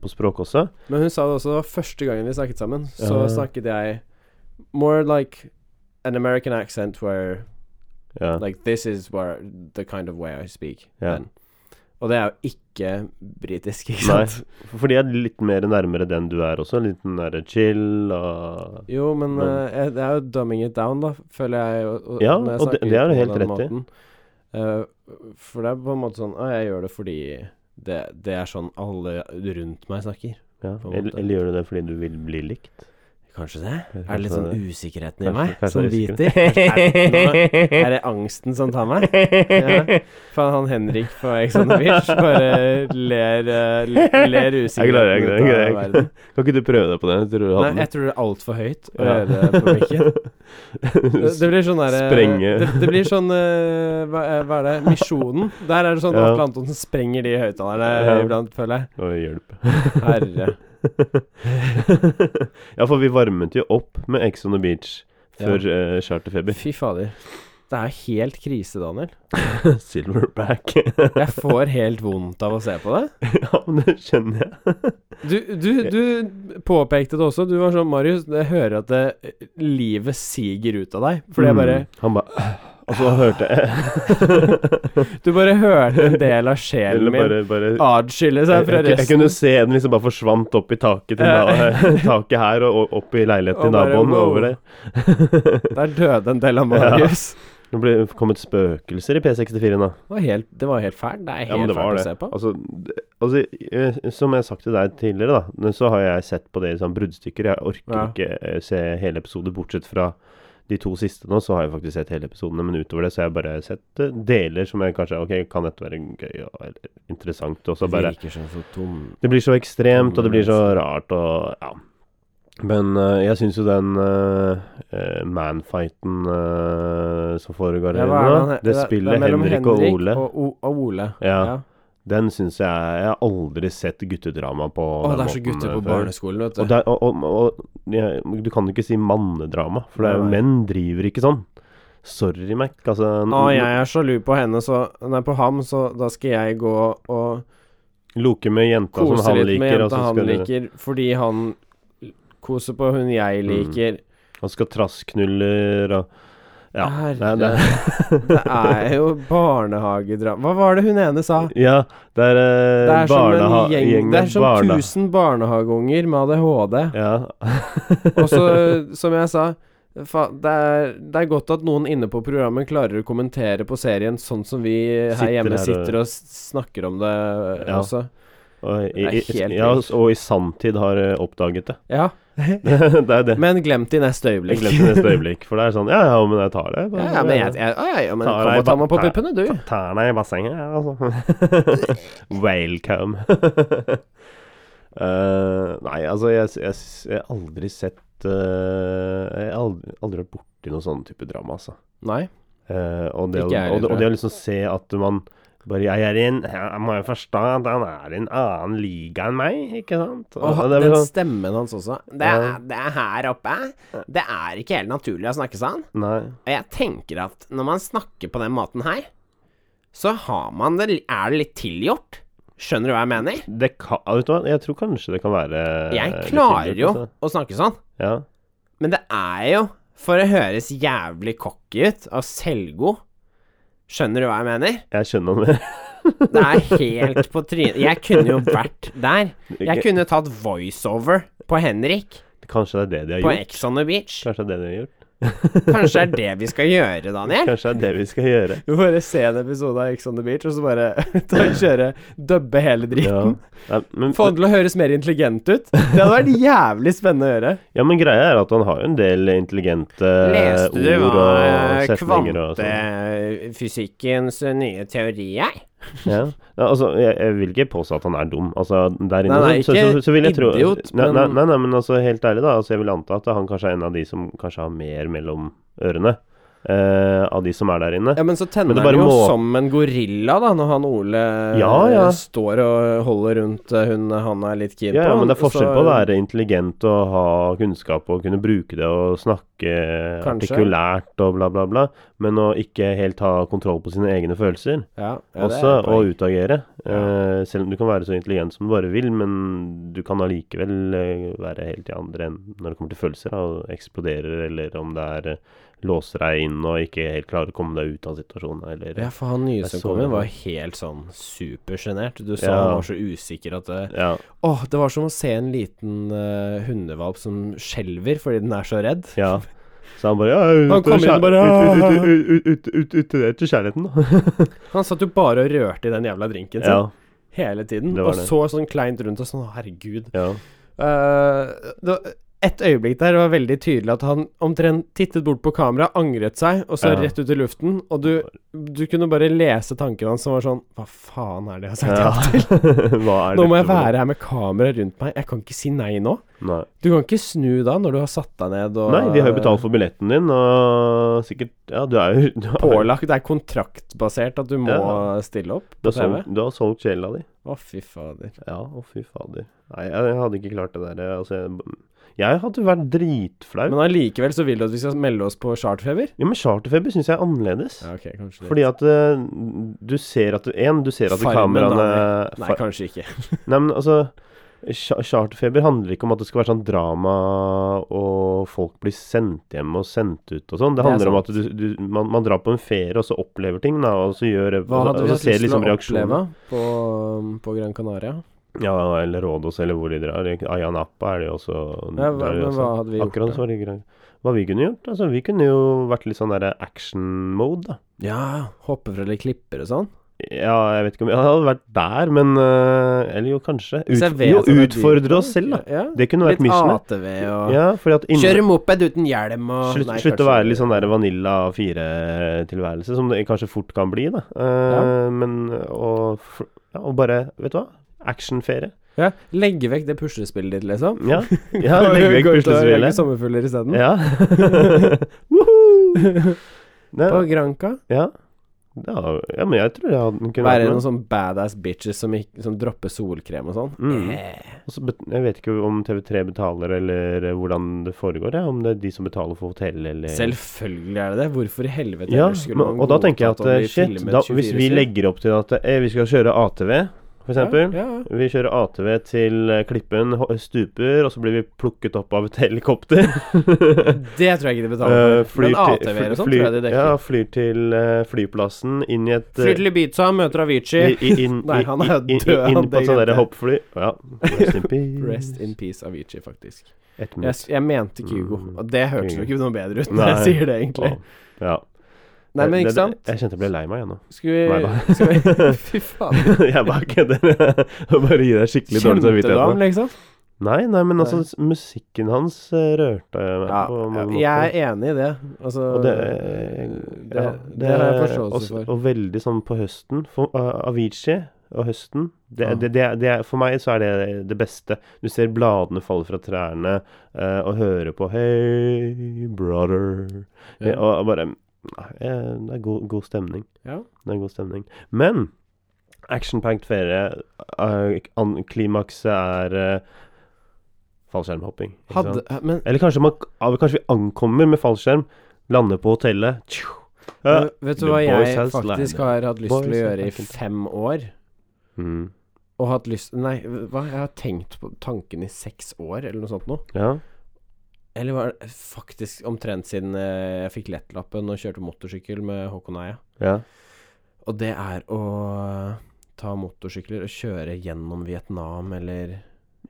S2: på språk også.
S1: Men hun sa det også, det var første gangen vi snakket sammen, så
S2: Ja.
S1: snakket jeg more like an American accent where
S2: Ja.
S1: Like this is where the kind of way I speak.
S2: Ja.
S1: then. Og det er jo ikke britisk, ikke
S2: Nei,
S1: sant?
S2: for- fordi jeg er litt mer nærmere den du er også. Litt den derre chill og
S1: Jo, men
S2: Men-
S1: eh, jeg- det er jo dumbing it down, da, føler jeg. Og, og,
S2: Ja,
S1: når jeg
S2: og det-
S1: snakker
S2: det er du
S1: på
S2: helt
S1: den
S2: rett i.
S1: måten. Eh, for det er på en måte sånn ah, Jeg gjør det fordi det, det er sånn alle rundt meg snakker.
S2: ja.
S1: På en
S2: eller,
S1: måte.
S2: eller gjør du det fordi du vil bli likt?
S1: Kanskje det?
S2: Kanskje
S1: Er det litt sånn
S2: det.
S1: usikkerheten i
S2: Kanskje-
S1: meg
S2: kanskje
S1: som
S2: det er
S1: biter? Er, nå- [laughs] er det angsten som tar meg? Ja. Faen, han Henrik på Ex on the Beach bare ler, eh, le- ler
S2: Jeg klarer jeg
S1: usikkerheten
S2: klarer- jeg
S1: ut av
S2: klarer
S1: verden.
S2: ikke. Kan ikke du prøve deg på det? Jeg tror du hadde
S1: Nei, jeg tror det er altfor høyt å gjøre det
S2: [laughs]
S1: på mikken. Det, det blir sånn derre
S2: Sprenge.
S1: det, det blir sånn eh, hva, eh, hva er det? Misjonen. Der er det sånn
S2: Ja.
S1: Atle Antonsen sprenger de høyttalerne
S2: Ja.
S1: iblant, føler jeg.
S2: Å, hjelp. [laughs]
S1: Herre.
S2: ja, for vi varmet jo opp med Ex on the Beach før eh, charterfeber. [laughs]
S1: Fy fader. Det er helt krise, Daniel.
S2: Silverback. [laughs]
S1: Jeg får helt vondt av å se på det.
S2: ja, men det skjønner jeg.
S1: Du, du, du påpekte det også. Du var sånn Marius, jeg hører at det, livet siger ut av deg. Fordi jeg bare
S2: Mm. Han bare Og så hørte
S1: [laughs]
S2: jeg
S1: Du bare hørte en del av sjelen
S2: Mm. Eller
S1: min Ah,
S2: bare, bare
S1: atskille
S2: jeg,
S1: seg fra
S2: jeg, jeg
S1: resten.
S2: kunne se den liksom bare forsvant opp i taket til
S1: Ja.
S2: na [laughs] taket her, og og opp i leiligheten
S1: Og
S2: til
S1: bare,
S2: naboen
S1: wow.
S2: over der.
S1: Der døde en del av Marius.
S2: Det ble kommet spøkelser i P64 nå.
S1: Det var helt, det var helt fælt. Det er helt
S2: Ja, men det var
S1: fælt å
S2: det.
S1: se på.
S2: Altså, d- altså eh, som jeg har sagt til deg tidligere, da, men så har jeg sett på det i sånn bruddstykker. Jeg orker
S1: Ja.
S2: ikke eh, se hele episoder, bortsett fra de to siste nå, så har jeg faktisk sett hele episodene. Men utover det så har jeg bare sett eh, deler som jeg kanskje Ok, kan dette være gøy og eller interessant? Og så bare
S1: virker som så tom
S2: Det blir så ekstremt, og det blir
S1: Mm.
S2: så rart, og ja. Men eh, jeg syns jo den eh, eh, manfighten eh, som foregår
S1: Ja,
S2: her
S1: hva er
S2: nå,
S1: han he-
S2: det
S1: er-
S2: spillet
S1: er mellom
S2: Henrik og Ole,
S1: Og, O- og Ole.
S2: Ja. den syns jeg Jeg har aldri sett guttedrama på
S1: Å,
S2: den
S1: det er så
S2: måten,
S1: gutter
S2: eh,
S1: på
S2: før.
S1: barneskolen, vet du.
S2: Og, det er- og, og, og ja, Du kan jo ikke si mannedrama, for det er jo
S1: Nei.
S2: menn driver ikke sånn. Sorry, Mac. Altså, n-
S1: Å, jeg er sjalu på henne, så Nei, på ham, så da skal jeg gå og
S2: Loke med jenta som
S1: kose
S2: han
S1: litt med
S2: liker, og
S1: jenta
S2: så
S1: han
S2: skal, du-
S1: liker, fordi han koser på hun jeg
S2: Mm.
S1: liker.
S2: han skal trassknuller og Ja. Nei,
S1: Herre,
S2: det,
S1: det er jo barnehagedrama Hva var det hun ene sa?
S2: [laughs] Ja, det er, eh,
S1: Det er som en
S2: barneha-
S1: gjeng,
S2: gjeng
S1: Det
S2: med
S1: er som
S2: barna-
S1: 1000 barnehageunger med ADHD.
S2: Ja.
S1: Og så, som jeg sa fa, det, er, det er godt at noen inne på programmet klarer å kommentere på serien sånn som vi her
S2: Sitter her
S1: hjemme
S2: og-
S1: sitter og s- snakker om det eh,
S2: Ja.
S1: også.
S2: Og, i,
S1: Det er
S2: i,
S1: helt
S2: ja,
S1: vilt.
S2: og i sanntid har eh, oppdaget det. [laughs]
S1: Ja,
S2: det er det.
S1: men glemt i neste
S2: Jeg
S1: øyeblikk.
S2: glemte det neste øyeblikk, for det er sånn Ja, ja, men jeg tar det.
S1: [laughs] Ja, ja, men jeg, jeg, ja, ja, men
S2: Ta
S1: kom
S2: deg
S1: og ta
S2: ba-
S1: meg på
S2: ta-
S1: puppene, du.
S2: Tærne i bassenget, ja, altså. [laughs] Welcome. [laughs] Eh, nei, altså, jeg, jeg, jeg har aldri sett eh, Jeg har aldri, aldri vært borti noe sånn type drama, altså.
S1: Nei.
S2: Eh, og, det,
S1: Ikke
S2: å-
S1: jeg heller,
S2: og, det,
S1: tror
S2: og
S1: jeg.
S2: det å liksom se at man bare Jeg er i en Jeg må jo forstå at han er i en annen liga enn meg, ikke sant?
S1: Og
S2: det er
S1: den
S2: bare sånn,
S1: stemmen hans også. Det er, det er her oppe. Det er ikke helt naturlig å snakke sånn.
S2: nei.
S1: Og jeg tenker at når man snakker på den måten her, så har man det, er det litt tilgjort. Skjønner du hva jeg mener?
S2: Det kan, vet du hva, jeg tror kanskje det kan være
S1: Jeg
S2: Eh, litt
S1: klarer
S2: tilgjort,
S1: jo
S2: altså.
S1: å snakke sånn.
S2: Ja.
S1: Men det er jo for å høres jævlig cocky ut og selvgod. Skjønner du hva jeg mener?
S2: Jeg skjønner det. [laughs]
S1: Det er helt på trynet. Jeg kunne jo vært der. Jeg kunne tatt voiceover på Henrik
S2: Kanskje det er det de har
S1: på
S2: gjort?
S1: Ex on the Beach.
S2: Kanskje det er det de har gjort?
S1: Kanskje det er det vi skal gjøre, Daniel?
S2: Kanskje det er det vi skal gjøre?
S1: Du bare se en episode av Ex on the Beach, og så bare [laughs] ta og kjøre dubbe hele
S2: Ja. Nei, men,
S1: Få den til å høres mer intelligent ut. Det hadde vært jævlig spennende å gjøre.
S2: ja, men greia er at han har jo en del intelligente
S1: Leste du
S2: Eh, ord
S1: hva eh,
S2: og setninger og sånn.
S1: kvantefysikkens eh, nye teori er?
S2: Ja. ja, altså, jeg, jeg vil ikke påstå at han er dum. Altså, der inne
S1: Nei, nei,
S2: så,
S1: ikke
S2: så, så, så vil jeg tro
S1: idiot,
S2: nei,
S1: men-
S2: nei, nei, nei, men altså, helt ærlig, da. Altså, jeg vil anta at han kanskje er en av de som kanskje har mer mellom ørene. eh, av de som er der inne.
S1: Ja, men så tenner
S2: Men det
S1: han
S2: bare
S1: jo
S2: må-
S1: som en gorilla, da, når han Ole
S2: Ja, ja.
S1: eh, står og holder rundt eh, hun han er litt keen
S2: Ja,
S1: på.
S2: ja, men det er forskjell
S1: så-
S2: på å være intelligent og ha kunnskap og kunne bruke det og snakke
S1: Kanskje.
S2: artikulært og bla, bla, bla, men å ikke helt ha kontroll på sine egne følelser
S1: ja, ja, det er
S2: også,
S1: et poeng.
S2: og utagere.
S1: Ja.
S2: Eh, selv om du kan være så intelligent som du bare vil, men du kan allikevel eh, være helt i andre enn når det kommer til følelser, da, og eksploderer, eller om det er eh, låser deg inn og ikke helt klarer å komme deg ut av situasjonen, eller
S1: Ja, for han nye
S2: Jeg
S1: som
S2: så
S1: kom
S2: det.
S1: inn, var helt sånn supersjenert. Du sa
S2: Ja.
S1: han var så usikker at det
S2: Ja.
S1: Åh, det var som å se en liten eh, hundevalp som skjelver fordi den er så redd.
S2: ja. Så han bare ja, ut,
S1: Han kom
S2: til
S1: inn
S2: kjær-
S1: og bare,
S2: ut, ut, ut, ut, ut, ut, ut, ut til kjærligheten, da.
S1: [laughs] [laughs] Han satt jo bare og rørte i den jævla drinken sin
S2: Ja,
S1: hele tiden.
S2: Det var
S1: Og
S2: det.
S1: så sånn kleint rundt og sånn, «Å, herregud.
S2: ja.
S1: Eh, det var et øyeblikk der var veldig tydelig at han omtrent tittet bort på kamera, angret seg, og så
S2: Ja.
S1: rett ut i luften. Og du, du kunne bare lese tankene hans som var sånn Hva faen er det jeg har sagt?
S2: ja.
S1: [laughs] ja til?
S2: [laughs] Hva er
S1: Nå må
S2: dette
S1: jeg
S2: for noe?
S1: være her med kamera rundt meg. Jeg kan ikke si nei nå.
S2: Nei.
S1: Du kan ikke snu da, når du har satt deg ned og
S2: Nei, vi har jo betalt for billetten din, og sikkert Ja, du er jo du er-
S1: eh, Pålagt. Det er kontraktbasert at du må
S2: Ja. sånn.
S1: stille opp
S2: Du
S1: på
S2: har,
S1: TV.
S2: solgt, du har solgt sjela di.
S1: Å, fy fader.
S2: Ja, å fy fader. Nei, jeg, jeg hadde ikke klart det der. Altså, jeg, jeg hadde vært dritflau.
S1: Men allikevel så vil du at vi skal melde oss på charterfeber?
S2: Ja, men charterfeber syns jeg er annerledes.
S1: Ja, ok, kanskje det.
S2: Fordi at eh, du ser at En, du ser at
S1: Farmen,
S2: kameraene
S1: Nei,
S2: Fa-
S1: kanskje ikke.
S2: Nei, men altså cha- Charterfeber handler ikke om at det skal være sånn drama og folk blir sendt hjem og sendt ut og sånn. Det
S1: Det er
S2: handler om at du, du, man, man drar på en ferie og så opplever ting, da, og så gjør
S1: Hva
S2: og så-
S1: hadde
S2: og så
S1: vi hatt
S2: ser
S1: lyst til
S2: liksom
S1: å
S2: reaksjoner.
S1: oppleve på, um, på Gran Canaria?
S2: Ja, eller Rådås, eller hvor de drar. Ayia Napa er det jo også.
S1: Ja,
S2: drar
S1: hva,
S2: de
S1: men
S2: også.
S1: hva hadde vi gjort?
S2: Akkurat
S1: da?
S2: så var det greit. hva vi kunne gjort. Altså, vi kunne jo vært litt sånn derre action-mode, da.
S1: Ja, hoppe fra litt klipper og sånn.
S2: Ja, jeg vet ikke om Jeg hadde vært der, men øh, Eller jo, kanskje.
S1: Hvis jeg
S2: Ut,
S1: vet
S2: jo,
S1: at det er dyrt,
S2: utfordre oss selv, da.
S1: Ja.
S2: Det kunne vært
S1: Litt
S2: missionet.
S1: ATV og
S2: Ja, fordi at inni-
S1: Kjøre moped uten hjelm og
S2: Slutt,
S1: Nei,
S2: slutt å
S1: kanskje-
S2: være litt sånn der vanilla A4-tilværelse, som det kanskje fort kan bli, da. Eh, Men å fr- ja, og bare Vet du hva? Actionferie.
S1: ja. Legge vekk det puslespillet ditt, liksom. [laughs]
S2: Ja. ja legge vekk
S1: Gå ut og lage
S2: puslespillet.
S1: sommerfugler isteden.
S2: Ja.
S1: [laughs]
S2: Nei,
S1: På Granca.
S2: ja. ja. Ja, men jeg tror jeg hadde kunne vært
S1: Være
S2: med.
S1: noen sånn badass bitches som, ikke, som dropper solkrem og sånn.
S2: Mm.
S1: Eh,
S2: Og så bet- Jeg vet ikke om TV3 betaler, eller eh, hvordan det foregår. Ja. Om det er de som betaler for hotell, eller
S1: Selvfølgelig er det det. Hvorfor i helvete
S2: Ja,
S1: ellers skulle
S2: men,
S1: man
S2: og da
S1: godta
S2: tenker jeg at eh,
S1: bli
S2: shit,
S1: filmet
S2: da, hvis vi
S1: 24/7?
S2: legger opp til at eh, vi skal kjøre ATV, for eksempel.
S1: Ja, ja.
S2: Vi kjører ATV til eh, klippen, ho- stuper, og så blir vi plukket opp av et [laughs] helikopter.
S1: Det tror jeg ikke de betaler
S2: Eh,
S1: for. Men
S2: til-
S1: ATV-er og sånn tror jeg de dekker.
S2: Ja, flyr til eh, flyplassen, inn i et eh,
S1: Flyr til Ibiza, møter
S2: i,
S1: Avicii.
S2: i, inn,
S1: [laughs] Nei,
S2: i-
S1: han er
S2: i- i-
S1: død, han,
S2: Inn på sånn
S1: det glemte
S2: derre
S1: jeg.
S2: hoppfly. Ja. Rest
S1: [laughs]
S2: in peace.
S1: Rest in peace, Avicii, faktisk.
S2: Et
S1: Jeg,
S2: minutt.
S1: s- jeg mente Kygo,
S2: Mm.
S1: og det hørtes jo ikke noe bedre ut når
S2: Nei.
S1: [laughs] jeg sier det, egentlig.
S2: Å, Ja.
S1: Nei, men
S2: Det- eh,
S1: ikke
S2: det-
S1: sant?
S2: Jeg kjente jeg ble lei meg igjen nå.
S1: Skal vi,
S2: Neida.
S1: [laughs] skal vi
S2: [laughs]
S1: Fy faen.
S2: jeg bare kødder. [laughs] Og bare gir deg skikkelig dårlig
S1: Kjente du
S2: samvittighet. nå.
S1: ham, liksom?
S2: Nei, nei, men altså, s- musikken hans eh, rørte meg
S1: Ja,
S2: på mange måter.
S1: jeg er enig i det. Altså
S2: og det, eh,
S1: det,
S2: ja,
S1: det har jeg forståelse
S2: også-
S1: for.
S2: Og veldig sånn på høsten. For, eh, Avicii og høsten det,
S1: Ja.
S2: det, det, det, er- For meg så er det det beste. Du ser bladene falle fra trærne, eh, og hører på 'Hey, brother'
S1: Ja.
S2: Eh, Og bare eh, Det er god, god stemning.
S1: Ja.
S2: Det er god stemning. Men action-packed ferie, eh, an- klimakset er eh, fallskjermhopping. ikke sant?
S1: Hadde, men
S2: Eller kanskje, man, ah, kanskje vi ankommer med fallskjerm, lander på hotellet tju, eh,
S1: men vet
S2: The
S1: du hva
S2: boys
S1: jeg
S2: has landed.
S1: faktisk har hatt lyst til å
S2: Boys has
S1: gjøre i
S2: landed.
S1: fem år?
S2: mm,
S1: Og hatt lyst Nei, hva? Jeg har tenkt på tanken i seks år, eller noe sånt noe.
S2: Ja.
S1: Eller var det faktisk omtrent siden eh, jeg fikk lettlappen og kjørte motorsykkel med Håkon Eia.
S2: ja.
S1: Og det er å ta motorsykler og kjøre gjennom Vietnam eller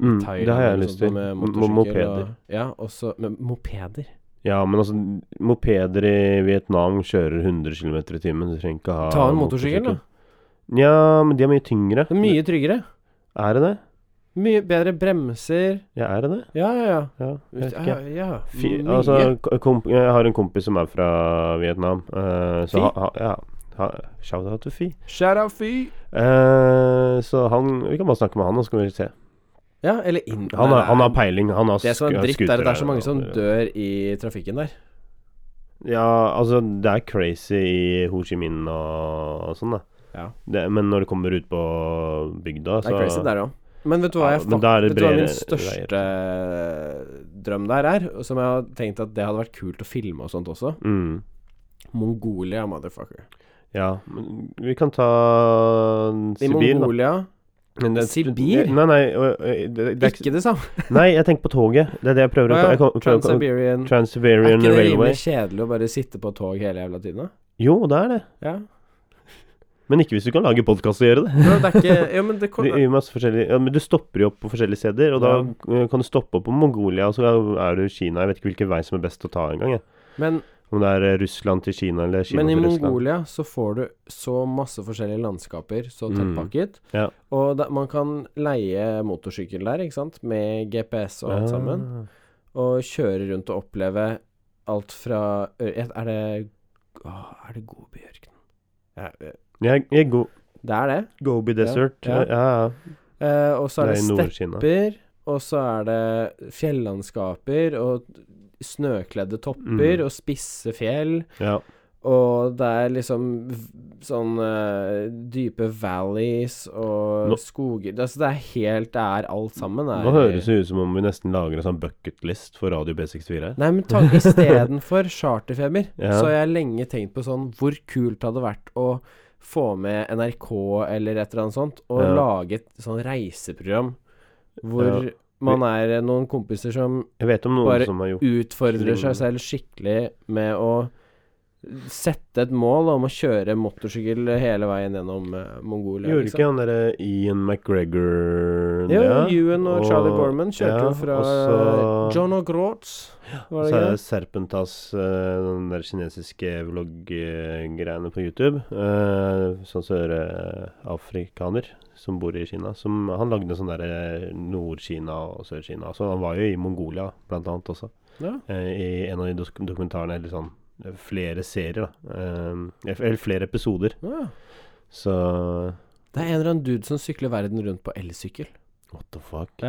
S2: Mm,
S1: Thailand.
S2: det har jeg
S1: eller
S2: lyst
S1: sånt
S2: til.
S1: noe Med
S2: M- m-
S1: motorsykkel
S2: mopeder.
S1: Og, ja, også med mopeder.
S2: Ja, men altså, mopeder i Vietnam kjører 100 km i timen. Du trenger ikke ha
S1: Ta en motorsykkel, da.
S2: Ja, men de er mye tyngre.
S1: Det er mye tryggere.
S2: Er det det?
S1: Mye bedre bremser.
S2: Ja, er det det?
S1: Ja, ja, ja.
S2: Ja, jeg vet ikke.
S1: Ja, ja.
S2: Fi,
S1: Mye.
S2: altså, k- komp jeg har en kompis som er fra Vietnam. eh, så
S1: Fi?
S2: ha, ha, ja. Ha, shout out to Fi.
S1: Shout out fy!
S2: Eh, så han Vi kan bare snakke med han, og så kan vi se.
S1: Ja, eller inn...
S2: Han,
S1: Nei,
S2: har- han har peiling. Han har
S1: det som er sånn
S2: sk-
S1: dritt, er at det er så
S2: skutere
S1: mange som
S2: og-
S1: dør i trafikken der.
S2: Ja, altså, det er crazy i Ho Chi Minh og, og sånn, da.
S1: Ja.
S2: Det, men når det kommer ut på bygda,
S1: Det er
S2: så
S1: crazy der òg. Men vet du hva
S2: Ja,
S1: jeg
S2: men da er det
S1: fakt- vet du hva min
S2: bredere
S1: største drøm der er? Og som jeg har tenkt at det hadde vært kult å filme og sånt også.
S2: mm,
S1: Mongolia, motherfucker.
S2: Ja. Men vi kan ta
S1: I
S2: Sibir, da.
S1: Mongolia
S2: Men det-
S1: Sibir?
S2: Nei, nei, ø- ø- det, det, er ikke
S1: Ikke det samme.
S2: Nei, jeg tenker på toget. Det er det jeg prøver å
S1: Å ja,
S2: jeg kom- prøver å-
S1: Trans-Siberian. Er
S2: Trans-Siberian
S1: ikke det
S2: Railway.
S1: rimelig kjedelig å bare sitte på tog hele jævla tiden? da?
S2: Jo, det er det.
S1: Ja.
S2: Men ikke hvis du kan lage podkast og gjøre det.
S1: Bro, det er ikke
S2: [laughs]
S1: Ja, men det
S2: Du,
S1: kommer
S2: gjør masse forskjellige, ja, men du stopper jo opp på forskjellige steder, og da eh, kan du stoppe opp på Mongolia, og så er du i Kina. Jeg vet ikke hvilken vei som er best å ta engang. jeg.
S1: Men,
S2: Om det er eh, Russland til Kina eller Kina
S1: men i
S2: til Russland.
S1: Mongolia så får du så masse forskjellige landskaper, så
S2: Mm.
S1: tettpakket.
S2: Ja.
S1: Og da, man kan leie motorsykkel der, ikke sant, med GPS
S2: Ah.
S1: og alt sammen. og kjøre rundt og oppleve alt fra ø- Er det åh, Er det Gobiørkenen? Ja, ø,
S2: Ja, jeg, jeg go,
S1: det er det.
S2: Gobi Desert. Ja,
S1: ja.
S2: ja. ja.
S1: Eh, og så er
S2: Det
S1: det
S2: er i Nord-Kina.
S1: stepper, og så er det fjellandskaper og snøkledde topper
S2: Mm.
S1: og spisse fjell.
S2: Ja.
S1: Og det er liksom v- sånn eh, dype valleys og
S2: Nå-
S1: skoger det, Altså det er helt Det er alt sammen. er-
S2: Nå høres det ut som om vi nesten lager en sånn bucketlist for Radio B64 her.
S1: Nei,
S2: [laughs]
S1: men ta- istedenfor charterfeber,
S2: Ja.
S1: så har jeg lenge tenkt på sånn Hvor kult hadde det vært å få med NRK eller et eller annet sånt, og
S2: Ja.
S1: lage et sånn reiseprogram hvor
S2: Ja.
S1: man er eh, noen kompiser som
S2: Jeg vet om noen
S1: Bare
S2: som har gjort
S1: utfordrer
S2: Slinger.
S1: seg selv skikkelig med å sette et mål om å kjøre motorsykkel hele veien gjennom eh, Mongolia.
S2: Gjorde ikke han derre Ian McGregor
S1: Jo,
S2: det?
S1: Ewan og, Charlie
S2: ja,
S1: Borman kjørte jo fra
S2: og så-
S1: John O'Grotz, var
S2: Så
S1: det
S2: er det
S1: ikke?
S2: Serpentas, eh, den der kinesiske vlogggreiene på YouTube. eh, Sånn sørafrikaner som bor i Kina. Som, han lagde sånn derre Nord-Kina og Sør-Kina. Så han var jo i Mongolia, blant annet, også.
S1: Ja.
S2: Eh, I en av de dok- dokumentarene, eller sånn eh, flere serier, da. Eh, Eller flere episoder.
S1: Ja.
S2: Så
S1: Det er en eller annen dude som sykler verden rundt på elsykkel.
S2: What the fuck?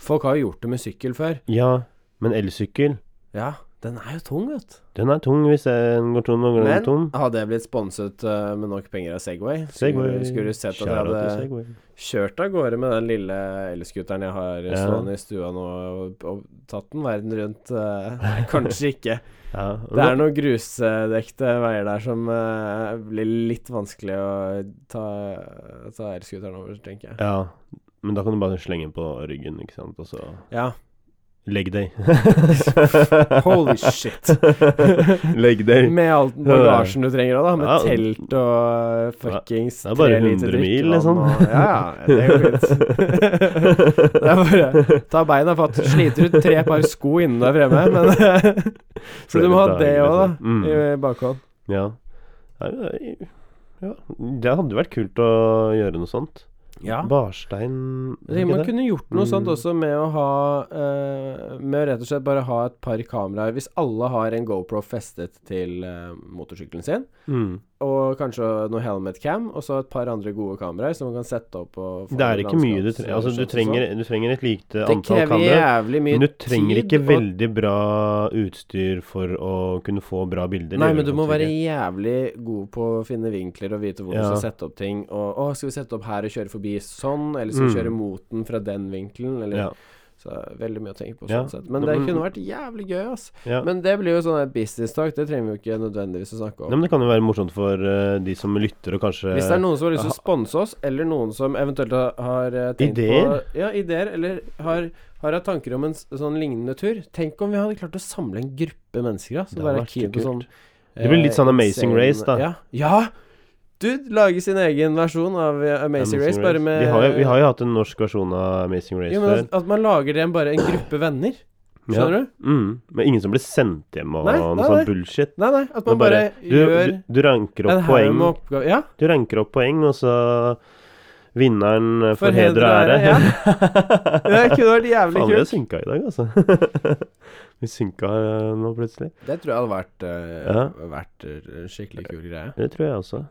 S1: Folk har jo gjort det med sykkel før.
S2: Ja, men elsykkel,
S1: Ja, den er jo tung, vet du.
S2: den er tung hvis den går tom og går den
S1: Men
S2: tom.
S1: hadde jeg blitt sponset eh, med nok penger av Segway,
S2: Segway.
S1: skulle, skulle du sett at jeg
S2: Shout out til
S1: hadde
S2: Segway.
S1: kjørt av gårde med den lille elskuteren jeg har
S2: Ja.
S1: stående i stua nå, og, og tatt den verden rundt. eh,
S2: [laughs]
S1: nei, kanskje ikke.
S2: Ja,
S1: Det er noen grusdekte veier der som eh, blir litt vanskelig å ta, ta elskuteren over, tenker jeg.
S2: Ja, men da kan du bare slenge den på ryggen, ikke sant, og så
S1: Ja.
S2: Leg day.
S1: [laughs]
S2: [laughs]
S1: Holy shit.
S2: Leg [laughs] day.
S1: Med all bagasjen du trenger òg, da. Med
S2: Ja.
S1: telt og eh, fuckings
S2: Det er bare
S1: tre liter
S2: 100 mil,
S1: drikkevann
S2: liksom.
S1: og- Ja, [laughs] ja, det går fint. det er bare ta beina fatt. Sliter ut tre par sko innen du er fremme,
S2: [laughs]
S1: men [laughs] Så du må ha det òg, da.
S2: Mm.
S1: I bakhånd.
S2: [laughs] Ja. Nei, det er- ja. Det hadde vært kult å gjøre noe sånt.
S1: Ja.
S2: Barstein er det ikke
S1: Man
S2: det?
S1: kunne gjort noe
S2: Mm.
S1: sånt også med å ha eh, Med å rett og slett bare ha et par kameraer. Hvis alle har en GoPro festet til eh, motorsykkelen sin,
S2: Mm.
S1: og kanskje noe helmet cam, og så et par andre gode kameraer som man kan sette opp og få
S2: Det er
S1: en
S2: ikke mye du
S1: landskaps-
S2: trenger. Altså, du
S1: skjønt og
S2: trenger, du trenger et lite
S1: sånn. Det
S2: antall
S1: krever
S2: kameraer.
S1: jævlig mye
S2: Men
S1: tid.
S2: du trenger ikke
S1: og-
S2: veldig bra utstyr for å kunne få bra bilder.
S1: Nei,
S2: gjør
S1: men du må
S2: sånn
S1: være
S2: sikkert.
S1: jævlig god på å finne vinkler og vite hvor du
S2: Ja.
S1: skal sette opp ting. Og å, skal vi sette opp her og kjøre forbi sånn, eller skal vi
S2: Mm.
S1: kjøre mot den fra den vinkelen, eller
S2: ja.
S1: Så det er veldig mye å tenke på
S2: Ja.
S1: sånn sett. Men
S2: Nå,
S1: det
S2: men-
S1: kunne vært jævlig gøy, ass.
S2: Ja.
S1: Men det blir jo sånn her business talk, det trenger vi jo ikke nødvendigvis å snakke
S2: Nei,
S1: om.
S2: men det kan jo være morsomt for eh, de som lytter og kanskje
S1: Hvis det er noen som har
S2: Eh,
S1: lyst til å sponse oss, eller noen som eventuelt har- har eh, tenkt
S2: Ideer?
S1: på Ja, ideer, eller har, har hatt tanker om en s- sånn lignende tur. Tenk om vi hadde klart å samle en gruppe mennesker, da.
S2: Det
S1: Som
S2: hadde
S1: bare
S2: vært
S1: er keen på
S2: kult.
S1: sånn
S2: Det blir litt
S1: eh,
S2: sånn Amazing Race, da.
S1: Ja. ja! Du lager sin egen versjon av eh, Amazing, Race, bare med
S2: vi, har jo, vi har jo hatt en norsk versjon av Amazing Race
S1: jo, men altså- at, at man lager det en bare en gruppe venner.
S2: før.
S1: Skjønner du?
S2: Ja. Mm. Men ingen som blir sendt hjem og
S1: Nei, nei,
S2: noe
S1: nei.
S2: sånn bullshit.
S1: Nei, nei, at
S2: Det er
S1: man bare,
S2: du,
S1: gjør
S2: du, du ranker opp
S1: en haug
S2: poeng,
S1: med oppgaver. Ja,
S2: Du ranker opp poeng, og så Vinneren eh, får
S1: For
S2: heder og ære.
S1: ja.
S2: [laughs]
S1: Det kunne vært jævlig
S2: Faen, vi har
S1: kult.
S2: synka i dag, altså. [laughs] vi synka eh, nå plutselig.
S1: Det tror jeg hadde vært, eh,
S2: Ja.
S1: skikkelig kul greie.
S2: Det tror jeg også.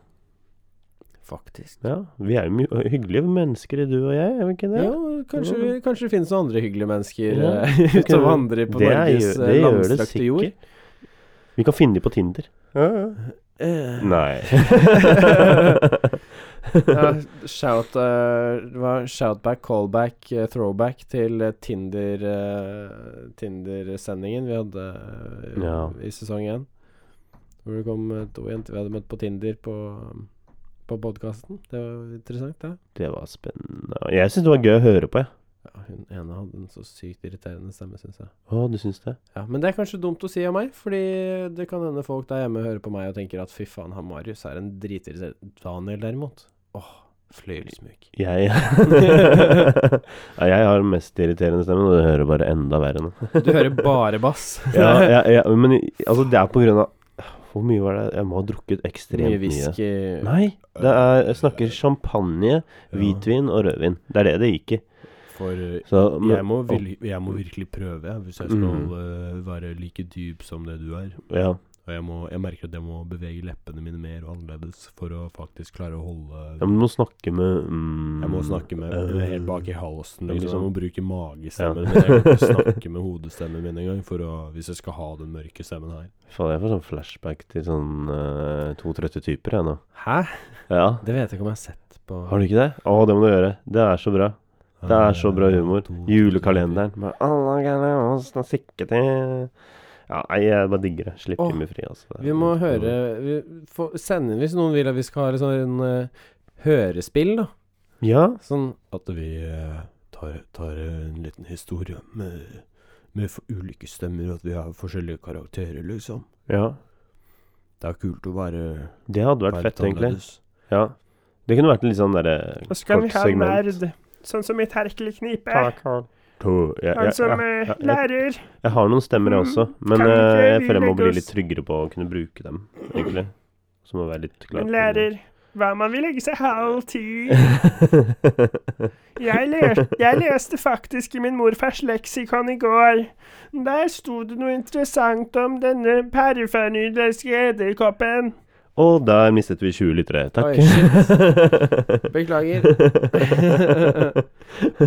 S1: Faktisk.
S2: Ja, Vi er jo my- hyggelige mennesker, du og jeg, er vi ikke det?
S1: Jo, kanskje, vi- kanskje det finnes noen andre hyggelige mennesker
S2: Ja.
S1: eh, som vandrer
S2: [laughs]
S1: på
S2: Det er
S1: Norges
S2: jo-
S1: eh,
S2: det gjør det
S1: langstrakte
S2: [laughs]
S1: jord.
S2: sikkert. Vi kan finne de på Tinder.
S1: Eh, [laughs]
S2: Nei.
S1: ja, shout, eh, hva- shoutback, callback, eh, throwback til eh, Tinder eh, Tinder-sendingen vi hadde eh,
S2: Ja.
S1: i sesong én. Hvor det kom eh, to jenter vi hadde møtt på Tinder på, på podkasten. Det var interessant, det.
S2: det var spennende. Jeg syns det var gøy å høre på, jeg.
S1: Ja, hun ene hadde en så sykt irriterende stemme, syns jeg.
S2: Å, du syns det?
S1: Ja, Men det er kanskje dumt å si av meg, fordi det kan hende folk der hjemme hører på meg og tenker at fy faen, han Marius er en dritirriterende Daniel, derimot. Åh, fløyelsmyk.
S2: Jeg
S1: [laughs]
S2: ja, Jeg har den mest irriterende stemmen, og du hører bare enda verre nå.
S1: Du hører bare [laughs] bass.
S2: [laughs] ja, ja, ja, men i- altså, det er på grunn av Hvor mye var det? Jeg må ha drukket ekstremt
S1: Mye
S2: mye.
S1: whisky.
S2: Nei, det er, jeg snakker champagne, hvitvin og rødvin. Det er det det gikk i.
S1: For eh,
S2: Så, men-
S1: jeg må, vil, jeg må virkelig prøve, jeg, hvis jeg skal eh, være like dyp som det du er.
S2: ja.
S1: Og jeg, må, jeg merker at jeg må bevege leppene mine mer og annerledes for å faktisk klare å
S2: ja,
S1: holde
S2: men du må snakke med mm,
S1: Jeg må snakke med
S2: øh,
S1: helt bak i halsen.
S2: Ja,
S1: Liksom. Jeg
S2: liksom.
S1: må bruke magestemmen
S2: Ja.
S1: min. Jeg kan ikke [laughs] snakke med hodestemmen min engang for å, hvis jeg skal ha den mørke stemmen her.
S2: Faen, jeg får sånn flashback til sånn eh, to trøtte typer, jeg nå.
S1: Hæ?
S2: Ja.
S1: Det vet jeg ikke om jeg har sett på
S2: Har du ikke det? Å, det må du gjøre. Det er så bra. Det er så
S1: Eh,
S2: bra humor. Julekalenderen. Med alle gærne oss, da sikke til Ja, nei, jeg bare digger det. Slipp
S1: Åh,
S2: Jimmy fri, altså. Det er
S1: Vi må
S2: helt
S1: høre vi får sende inn hvis noen vil at vi skal ha litt sånn eh, hørespill, da.
S2: nydelig. Ja.
S1: Sånn At vi eh, tar, tar en liten historie med, med for- ulike stemmer, og at vi har forskjellige karakterer, liksom.
S2: Ja.
S3: Det er kult å være,
S2: Det hadde vært
S3: være
S2: fett, egentlig.
S3: annerledes.
S2: Ja. Det kunne vært en litt sånn derre
S4: Og så kan vi
S2: kort
S4: ha en
S2: segment.
S4: nerd, sånn som i Terkelknipe.
S2: To- Jeg,
S4: Han
S2: jeg,
S4: som
S2: jeg,
S4: eh,
S2: ja, ja.
S4: lærer.
S2: jeg har noen stemmer, jeg også. Men
S4: Mm. Kan vi ikke
S2: eh, jeg føler jeg må
S4: legge
S2: bli
S4: oss-
S2: litt tryggere på å kunne bruke dem, egentlig. Så må jeg være litt klar.
S4: En
S2: på-
S4: lærer. Hva man vil legge seg halv ti. Jeg, le- jeg leste faktisk i min morfars leksikon i går. Der sto det noe interessant om denne perifernydelse edderkoppen.
S2: [laughs] Og der mistet vi 20 lyttere. Takk.
S1: Oi, shit.
S2: [laughs]
S1: Beklager.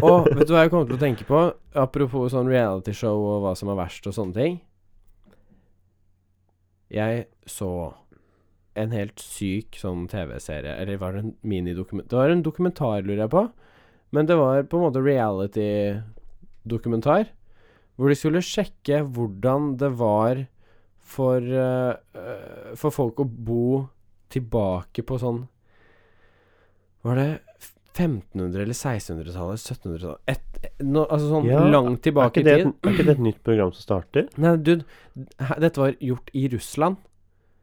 S1: Og vet du hva jeg kom til å tenke på? Apropos sånn realityshow og hva som er verst og sånne ting. Jeg så en helt syk sånn TV-serie, eller var det en minidokument... Det var en dokumentar, lurer jeg på. Men det var på en måte reality-dokumentar. Hvor de skulle sjekke hvordan det var for, eh, eh, for folk å bo tilbake på sånn Var det 1500- eller 1600-tallet? 1700-tallet? Et, no, altså sånn
S2: Ja,
S1: langt
S2: Er
S1: tilbake
S2: ikke,
S1: i
S2: det,
S1: tid.
S2: et- er ikke det et nytt program som starter?
S1: Nei, dude, hæ- dette var gjort i Russland.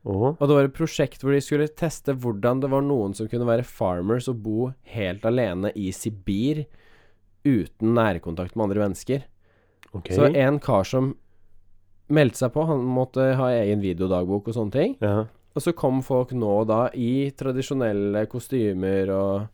S2: Åh.
S1: Og det var et prosjekt hvor de skulle teste hvordan det var noen som kunne være farmers og bo helt alene i Sibir uten nærkontakt med andre mennesker.
S2: ok.
S1: Så en kar som meldte seg på, han måtte ha egen videodagbok og sånne ting.
S2: ja.
S1: Og så kom folk nå og da i tradisjonelle kostymer og,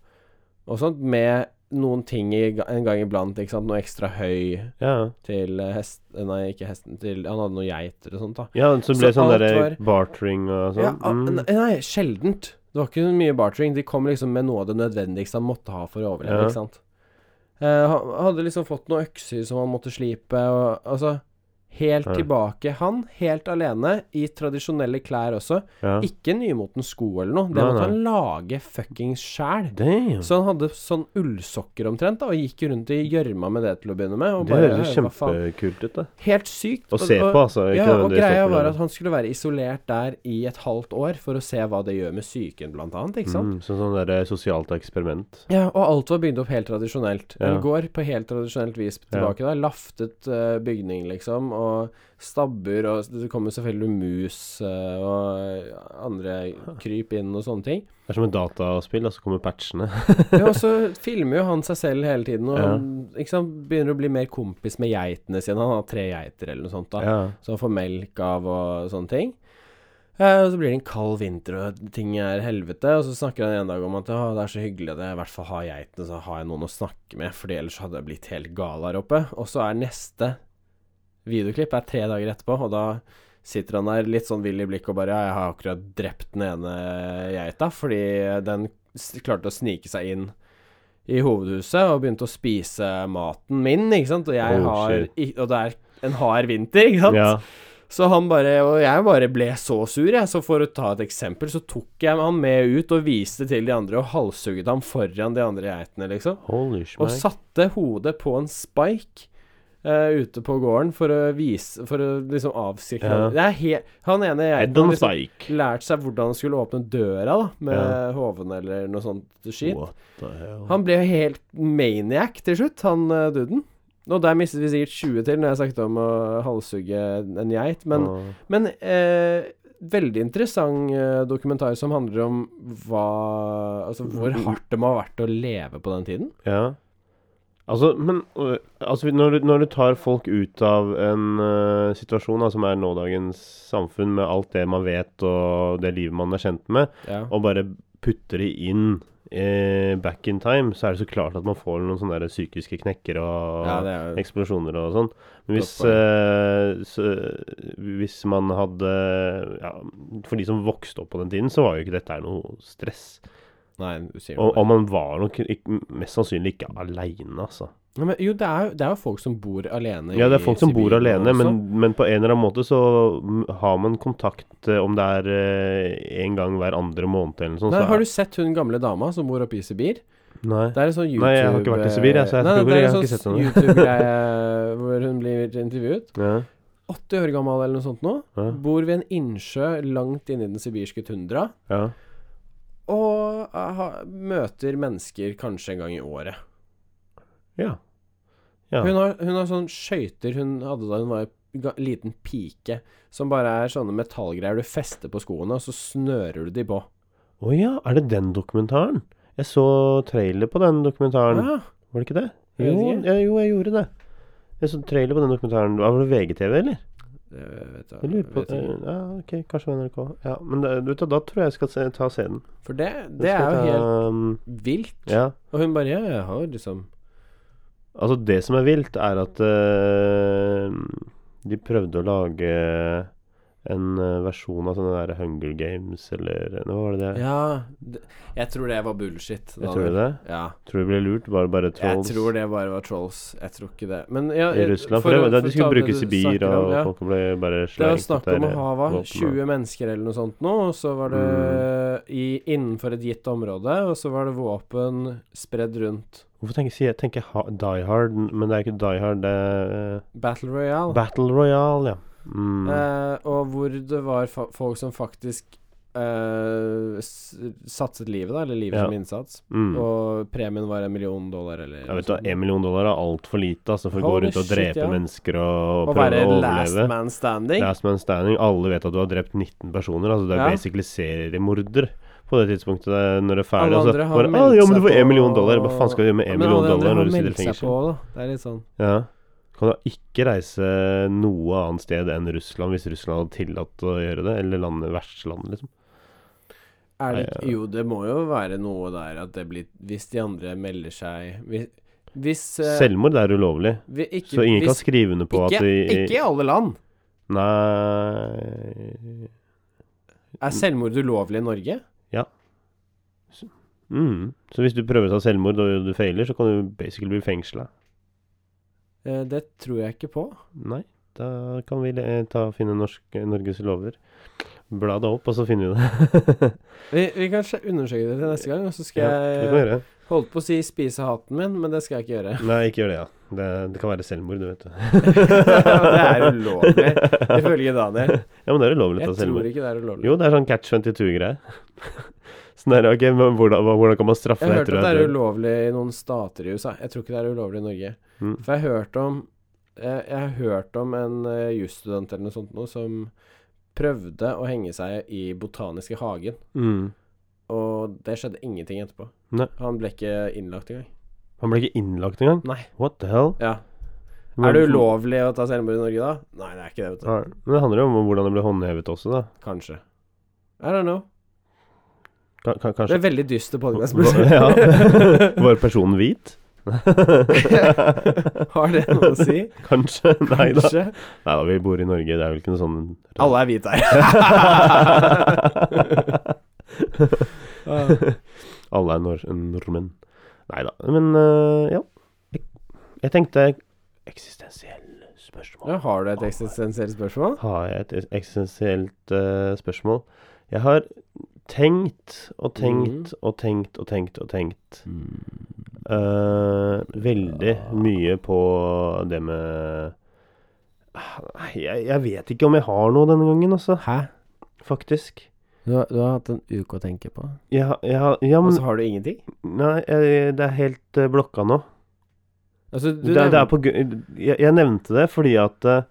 S1: og sånt, med noen ting i, ga- en gang iblant, ikke sant, noe ekstra høy
S2: Ja.
S1: til eh, hest... Nei, ikke hesten, til Han hadde noen geiter og sånt, da.
S2: ja, så ble det
S1: Så
S2: sånn
S1: alt
S2: derre bartering og
S1: Ja,
S2: sånn.
S1: ah,
S2: Mm.
S1: nei, nei, sjeldent. Det var ikke så mye bartering. De kom liksom med noe av det nødvendigste han måtte ha for å overleve.
S2: Ja.
S1: ikke sant? Eh, han hadde liksom fått noen økser som han måtte slipe. Og, altså Helt
S2: Ja.
S1: tilbake. Han helt alene, i tradisjonelle klær også.
S2: Ja.
S1: Ikke nymotens sko eller noe. Det
S2: Nei,
S1: måtte
S2: nei.
S1: han lage fuckings sjæl.
S2: Damn.
S1: Så han hadde sånn ullsokker omtrent, da, og gikk rundt i gjørma med det til å begynne med. Og
S2: Det
S1: bare,
S2: høres jo
S1: hva faen?
S2: kjempekult ut, da.
S1: Helt sykt.
S2: Å se
S1: og,
S2: på, altså. Ikke
S1: ja, og
S2: nødvendigvis
S1: greia
S2: å
S1: var
S2: oppleve.
S1: at han skulle være isolert der i et halvt år for å se hva det gjør med psyken, blant annet. Ikke sant?
S2: Mm, så sånn derre sosialt eksperiment.
S1: Ja, og alt var bygd opp helt tradisjonelt.
S2: Ja.
S1: En gård på helt tradisjonelt vis tilbake der. Laftet eh, bygning, liksom, og stabber, og det kommer selvfølgelig mus eh, og andre kryp inn og sånne
S2: [laughs]
S1: ting.
S2: Det er som et dataspill, og så kommer
S1: [laughs]
S2: patchene.
S1: Ja, og så filmer jo han seg selv hele tiden, og
S2: Ja.
S1: han, ikke sant, begynner å bli mer kompis med geitene sine. Han har tre geiter eller noe sånt, da.
S2: [laughs] Ja.
S1: som han får melk av og sånne ting. Eh, og så blir det en kald vinter, og ting er helvete. Og så snakker han en dag om at «Å, det er så hyggelig at jeg i hvert fall har geitene, så har jeg noen å snakke med, Fordi ellers hadde jeg blitt helt gal her oppe. Og så er neste videoklipp er tre dager etterpå, og da sitter han der litt sånn vill i blikket og bare Ja, jeg har akkurat drept den ene geita, fordi den s- klarte å snike seg inn i hovedhuset og begynte å spise maten min, ikke sant, og jeg
S2: Oh,
S1: har
S2: shit.
S1: i, Og det er en hard vinter, ikke sant?
S2: ja.
S1: Så han bare Og jeg bare ble så sur, jeg. Så for å ta et eksempel, så tok jeg han med ut og viste til de andre, og halshugget ham foran de andre geitene, liksom.
S2: Holy
S1: Og
S2: shmack.
S1: satte hodet på en spike. eh, ute på gården for å vise For å liksom avskrekke
S2: Ja.
S1: han. Det er helt Han ene
S2: Head
S1: geiten
S2: on
S1: har liksom
S2: spike.
S1: lært seg hvordan han skulle åpne døra, da, med
S2: Ja.
S1: hoven eller noe sånt skit.
S2: What the hell?
S1: Han ble jo helt maniac til slutt, han eh, duden. Og der mistet vi sikkert 20 til når jeg snakket om å halshugge en geit, men
S2: Åh.
S1: men eh, veldig interessant eh, dokumentar som handler om hva Altså hvor
S2: Mm.
S1: hardt det må ha vært å leve på den tiden.
S2: Ja. Altså, men øh, altså, når, du, når du tar folk ut av en øh, situasjon da, som er nådagens samfunn, med alt det man vet og det livet man er kjent med,
S1: Ja.
S2: og bare putter det inn eh, back in time, så er det så klart at man får noen sånne der psykiske knekker og
S1: ja, det er jo
S2: eksplosjoner og sånn. Men hvis,
S1: Godt poeng.
S2: eh, så, hvis man hadde ja, For de som vokste opp på den tiden, så var jo ikke dette her noe stress.
S1: Nei, du sier
S2: Og,
S1: noe.
S2: og man var nok ikke, mest sannsynlig ikke aleine, altså.
S1: Ja, men, jo, det er jo, det er jo folk som bor alene
S2: Ja, det er
S1: i
S2: folk som bor
S1: Sibir
S2: alene,
S1: også.
S2: men, men på en eller annen måte så mm, har man kontakt eh, om det er eh, en gang hver andre måned eller noe sånt.
S1: Nei,
S2: så
S1: Har
S2: er-
S1: du sett hun gamle dama som bor oppe i Sibir?
S2: Nei.
S1: Det er en sånn YouTube
S2: Nei, jeg har ikke vært i Sibir, jeg, så jeg
S1: Nei,
S2: tror-
S1: det er
S2: jeg
S1: en
S2: har ikke
S1: sånn
S2: sett henne.
S1: YouTube-greie hvor hun blir intervjuet.
S2: Ja.
S1: 80 år gammel eller noe sånt nå.
S2: Ja.
S1: Bor ved en innsjø langt inne i den sibirske tundra.
S2: ja.
S1: Og eh, ha, møter mennesker kanskje en gang i året.
S2: ja. Ja.
S1: Hun, har, hun har sånn skøyter hun hadde da hun var ga- liten pike som bare er sånne metallgreier du fester på skoene, og så snører du de på.
S2: Å ja, er det den dokumentaren? Jeg så trailer på den dokumentaren.
S1: Ja,
S2: Var det ikke det?
S1: Jeg vet
S2: Jo,
S1: ikke.
S2: jeg, jo, jeg gjorde det. Jeg så trailer på den dokumentaren. Ah, Var det VGTV, eller?
S1: det vet jeg,
S2: Jeg lurer på
S1: vet ikke.
S2: Ja, ok, kanskje det var NRK. Ja, men det, vet du, da tror jeg jeg skal se, ta scenen.
S1: For det, det er jo helt vilt.
S2: um, Ja.
S1: Og hun bare Ja, jeg har jo liksom
S2: Altså, det som er vilt, er at eh, de prøvde å lage en eh, versjon av sånne der Hunger Games, eller Hva var det det?
S1: Ja. Det, jeg tror det var bullshit.
S2: Jeg tror det.
S1: Ja.
S2: Tror du ble lurt? Var det bare
S1: Jeg
S2: trolls
S1: tror det bare var trolls. Jeg tror ikke det. Men ja,
S2: i Russland? For, det,
S1: å- for
S2: de
S1: å ta
S2: skulle bruke
S1: det du
S2: Sibir,
S1: snakker om,
S2: og
S1: ja.
S2: folk ble bare slengt
S1: Det var snakk om å
S2: der,
S1: ha hva,
S2: våpen Mm. og-
S1: 20 mennesker eller noe sånt nå, og så var det i, innenfor et gitt område, og så var det våpen spredd rundt.
S2: Hvorfor tenker sier jeg tenker ha, Die Hard, men det er ikke Die Hard, det er
S1: Battle
S2: eh,
S1: Royale.
S2: Battle Royale, ja. Mm.
S1: Eh, og hvor det var fa folk som faktisk eh, s satset livet, da, eller livet
S2: Ja.
S1: som innsats.
S2: mm.
S1: Og premien var en million dollar, eller
S2: Jeg
S1: noe
S2: vet da,
S1: sånt.
S2: En million dollar er altfor lite altså, for å gå
S1: Holy
S2: rundt og
S1: shit,
S2: drepe
S1: ja.
S2: mennesker og,
S1: Å
S2: prøve
S1: være
S2: å
S1: last
S2: overleve.
S1: man standing.
S2: Last man standing. Alle vet at du har drept 19 personer. Altså, det er
S1: Ja.
S2: basically seriemorder på det tidspunktet der, når det er ferdig.
S1: Alle
S2: Altså,
S1: andre har
S2: bare,
S1: meldt
S2: ah, ja, men du
S1: seg
S2: får
S1: på-
S2: én million dollar. Hva faen skal du gjøre med
S1: Ja,
S2: én
S1: men
S2: million
S1: alle andre
S2: dollar
S1: har
S2: når du sitter i
S1: meldt seg
S2: fengsel?
S1: på, da. Det er litt sånn
S2: Ja. Kan da ikke reise noe annet sted enn Russland hvis Russland hadde tillatt å gjøre det? Eller landet, vertslandet, liksom.
S1: Er det,
S2: Nei,
S1: ikke- jo, det må jo være noe der at det blir Hvis de andre melder seg Hvis, hvis eh,
S2: Selvmord er ulovlig.
S1: vi, ikke,
S2: Så ingen kan
S1: hvis,
S2: skrive under på
S1: ikke,
S2: at de
S1: ikke i alle land.
S2: Nei
S1: Er selvmord ulovlig i Norge?
S2: mm. Så hvis du prøver å ta selvmord og du feiler, så kan du basically bli fengsla.
S1: Eh, Det tror jeg ikke på.
S2: Nei, da kan vi eh, ta, finne norsk, Norges lover. Bla det opp, og så finner vi det. [laughs]
S1: Vi, vi kan sj- undersøke det til neste gang, og så skal
S2: Ja, det kan vi
S1: jeg
S2: gjøre.
S1: Holdt på å si 'spise haten min', men det skal jeg ikke
S2: [laughs]
S1: gjøre.
S2: Nei, ikke gjør det, ja. Det, det kan være selvmord,
S1: [laughs]
S2: du vet det.
S1: er ulovlig, ifølge Daniel.
S2: Ja, men det er ulovlig å
S1: Jeg
S2: ta
S1: tror
S2: selvmord.
S1: ikke det er ulovlig.
S2: Jo, det er sånn catch 22-greie. [laughs] Sånn der, ok, men hvordan, hva- hvordan kan man straffe
S1: Jeg har hørt
S2: etter
S1: at
S2: du
S1: det er
S2: død?
S1: ulovlig i noen stater i USA. Jeg tror ikke det er ulovlig i Norge.
S2: Mm.
S1: For jeg har hørt om Jeg, jeg har hørt om en eh, jusstudent eller noe sånt noe som prøvde å henge seg i botaniske hagen,
S2: Mm.
S1: og det skjedde ingenting etterpå.
S2: Nei.
S1: Han ble ikke innlagt engang.
S2: Han ble ikke innlagt engang?
S1: Nei.
S2: What the hell?
S1: Ja. Er det ulovlig å ta selvmord i Norge da? Nei, det er ikke det, vet
S2: Ja, Men det handler jo om hvordan det ble håndhevet også, da.
S1: du. Kanskje. I don't know.
S2: Ka- ka-
S1: Det
S2: Kanskje
S1: er veldig dyster podcast.
S2: Hva- [laughs]
S1: [laughs]
S2: ja. Var personen hvit?
S1: Har det noe å si?
S2: [laughs] Kanskje. Nei da.
S1: Kanskje.
S2: Nei da, vi bor i Norge, det er vel ikke noe sånn
S1: Alle er hvite
S2: [laughs]
S1: her.
S2: [laughs] Alle er nor nordmenn. Nei da. Men øh, ja. Jeg, jeg tenkte eksistensielle spørsmål.
S1: Ja, har du et eksistensielt spørsmål?
S2: Har jeg et eksistensielt øh, spørsmål? Jeg har tenkt og tenkt
S1: Mhm.
S2: og tenkt og tenkt og tenkt Mm. øh, veldig mye på det med Nei, jeg, jeg vet ikke om jeg har noe denne gangen, altså.
S1: Hæ?
S2: Faktisk.
S1: Du har, du har hatt en uke å tenke på,
S2: Jeg, har- jeg, har- ja,
S1: og
S2: men
S1: så har du ingenting?
S2: Nei, jeg, det er helt øh, blokka nå.
S1: Altså, du,
S2: Det, er- det er
S1: nevn-
S2: på, gru- jeg, jeg nevnte det fordi at eh,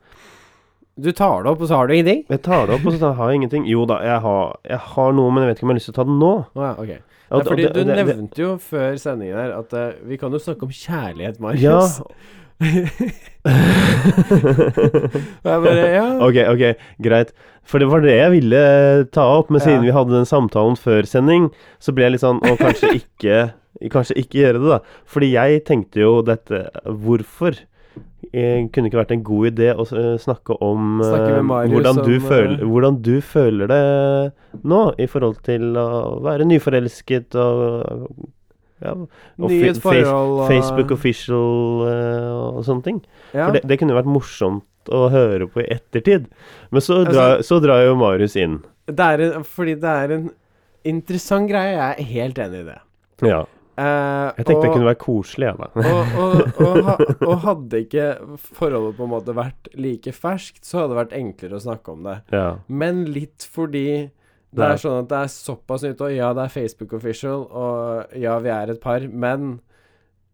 S1: du tar det opp, og så har du ingenting?
S2: Jeg tar det opp, og så tar- har jeg ingenting. Jo da, jeg har, jeg har noe, men jeg vet ikke om jeg har lyst til å ta det nå.
S1: Å ja,
S2: Og
S1: ok. Ja,
S2: det-
S1: fordi
S2: og
S1: du
S2: det- det-
S1: nevnte jo før sendingen her at eh, vi kan jo snakke om kjærlighet,
S2: Ja.
S1: Marius. Og jeg bare, [laughs] ja.
S2: [laughs] Ok, ok, greit. For det var det jeg ville eh, ta opp, men siden
S1: Ja.
S2: vi hadde den samtalen før sending, så ble jeg litt sånn Å,
S1: [laughs]
S2: kanskje ikke Kanskje ikke gjøre det, da. Fordi jeg tenkte jo dette Hvorfor? Eh, kunne det ikke vært en god idé å eh, snakke om eh,
S1: Snakke med Marius
S2: hvordan, du
S1: om, eh,
S2: føler, hvordan du føler det nå, i forhold til å være nyforelsket og ja, og fe-
S1: Nytt forhold og
S2: Facebook official eh, og sånne ting.
S1: ja.
S2: For det, det kunne vært morsomt å høre på i ettertid. Men så
S1: Altså-
S2: drar, så drar jo Marius inn.
S1: det er en, Fordi det er en interessant greie. Jeg er helt enig i det.
S2: Ja.
S1: Eh,
S2: Jeg tenkte
S1: og-
S2: det kunne være koselig, jeg, da.
S1: og, og, og, ha- og hadde ikke forholdet på en måte vært like ferskt, så hadde det vært enklere å snakke om det.
S2: Ja.
S1: Men litt fordi det
S2: Nei.
S1: er sånn at det er såpass nytt, og ja, det er Facebook official, og ja, vi er et par, men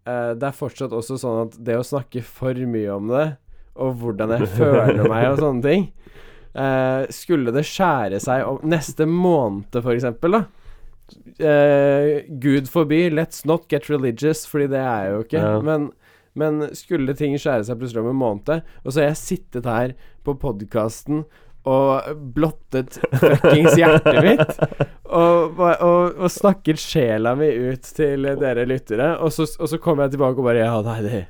S1: eh, det er fortsatt også sånn at det å snakke for mye om det, og hvordan jeg føler meg og sånne ting. Eh, skulle det skjære seg om neste måned, for eksempel, da eh, Gud forby, let's not get religious, fordi det er jeg jo ikke.
S2: Ja.
S1: Men, men skulle ting skjære seg plutselig om en måned, og så har jeg sittet her på podkasten og blottet fuckings hjertet mitt, og, ba- og, og snakket sjela mi ut til dere lyttere, og så, og så kommer jeg tilbake og bare Ja, nei, det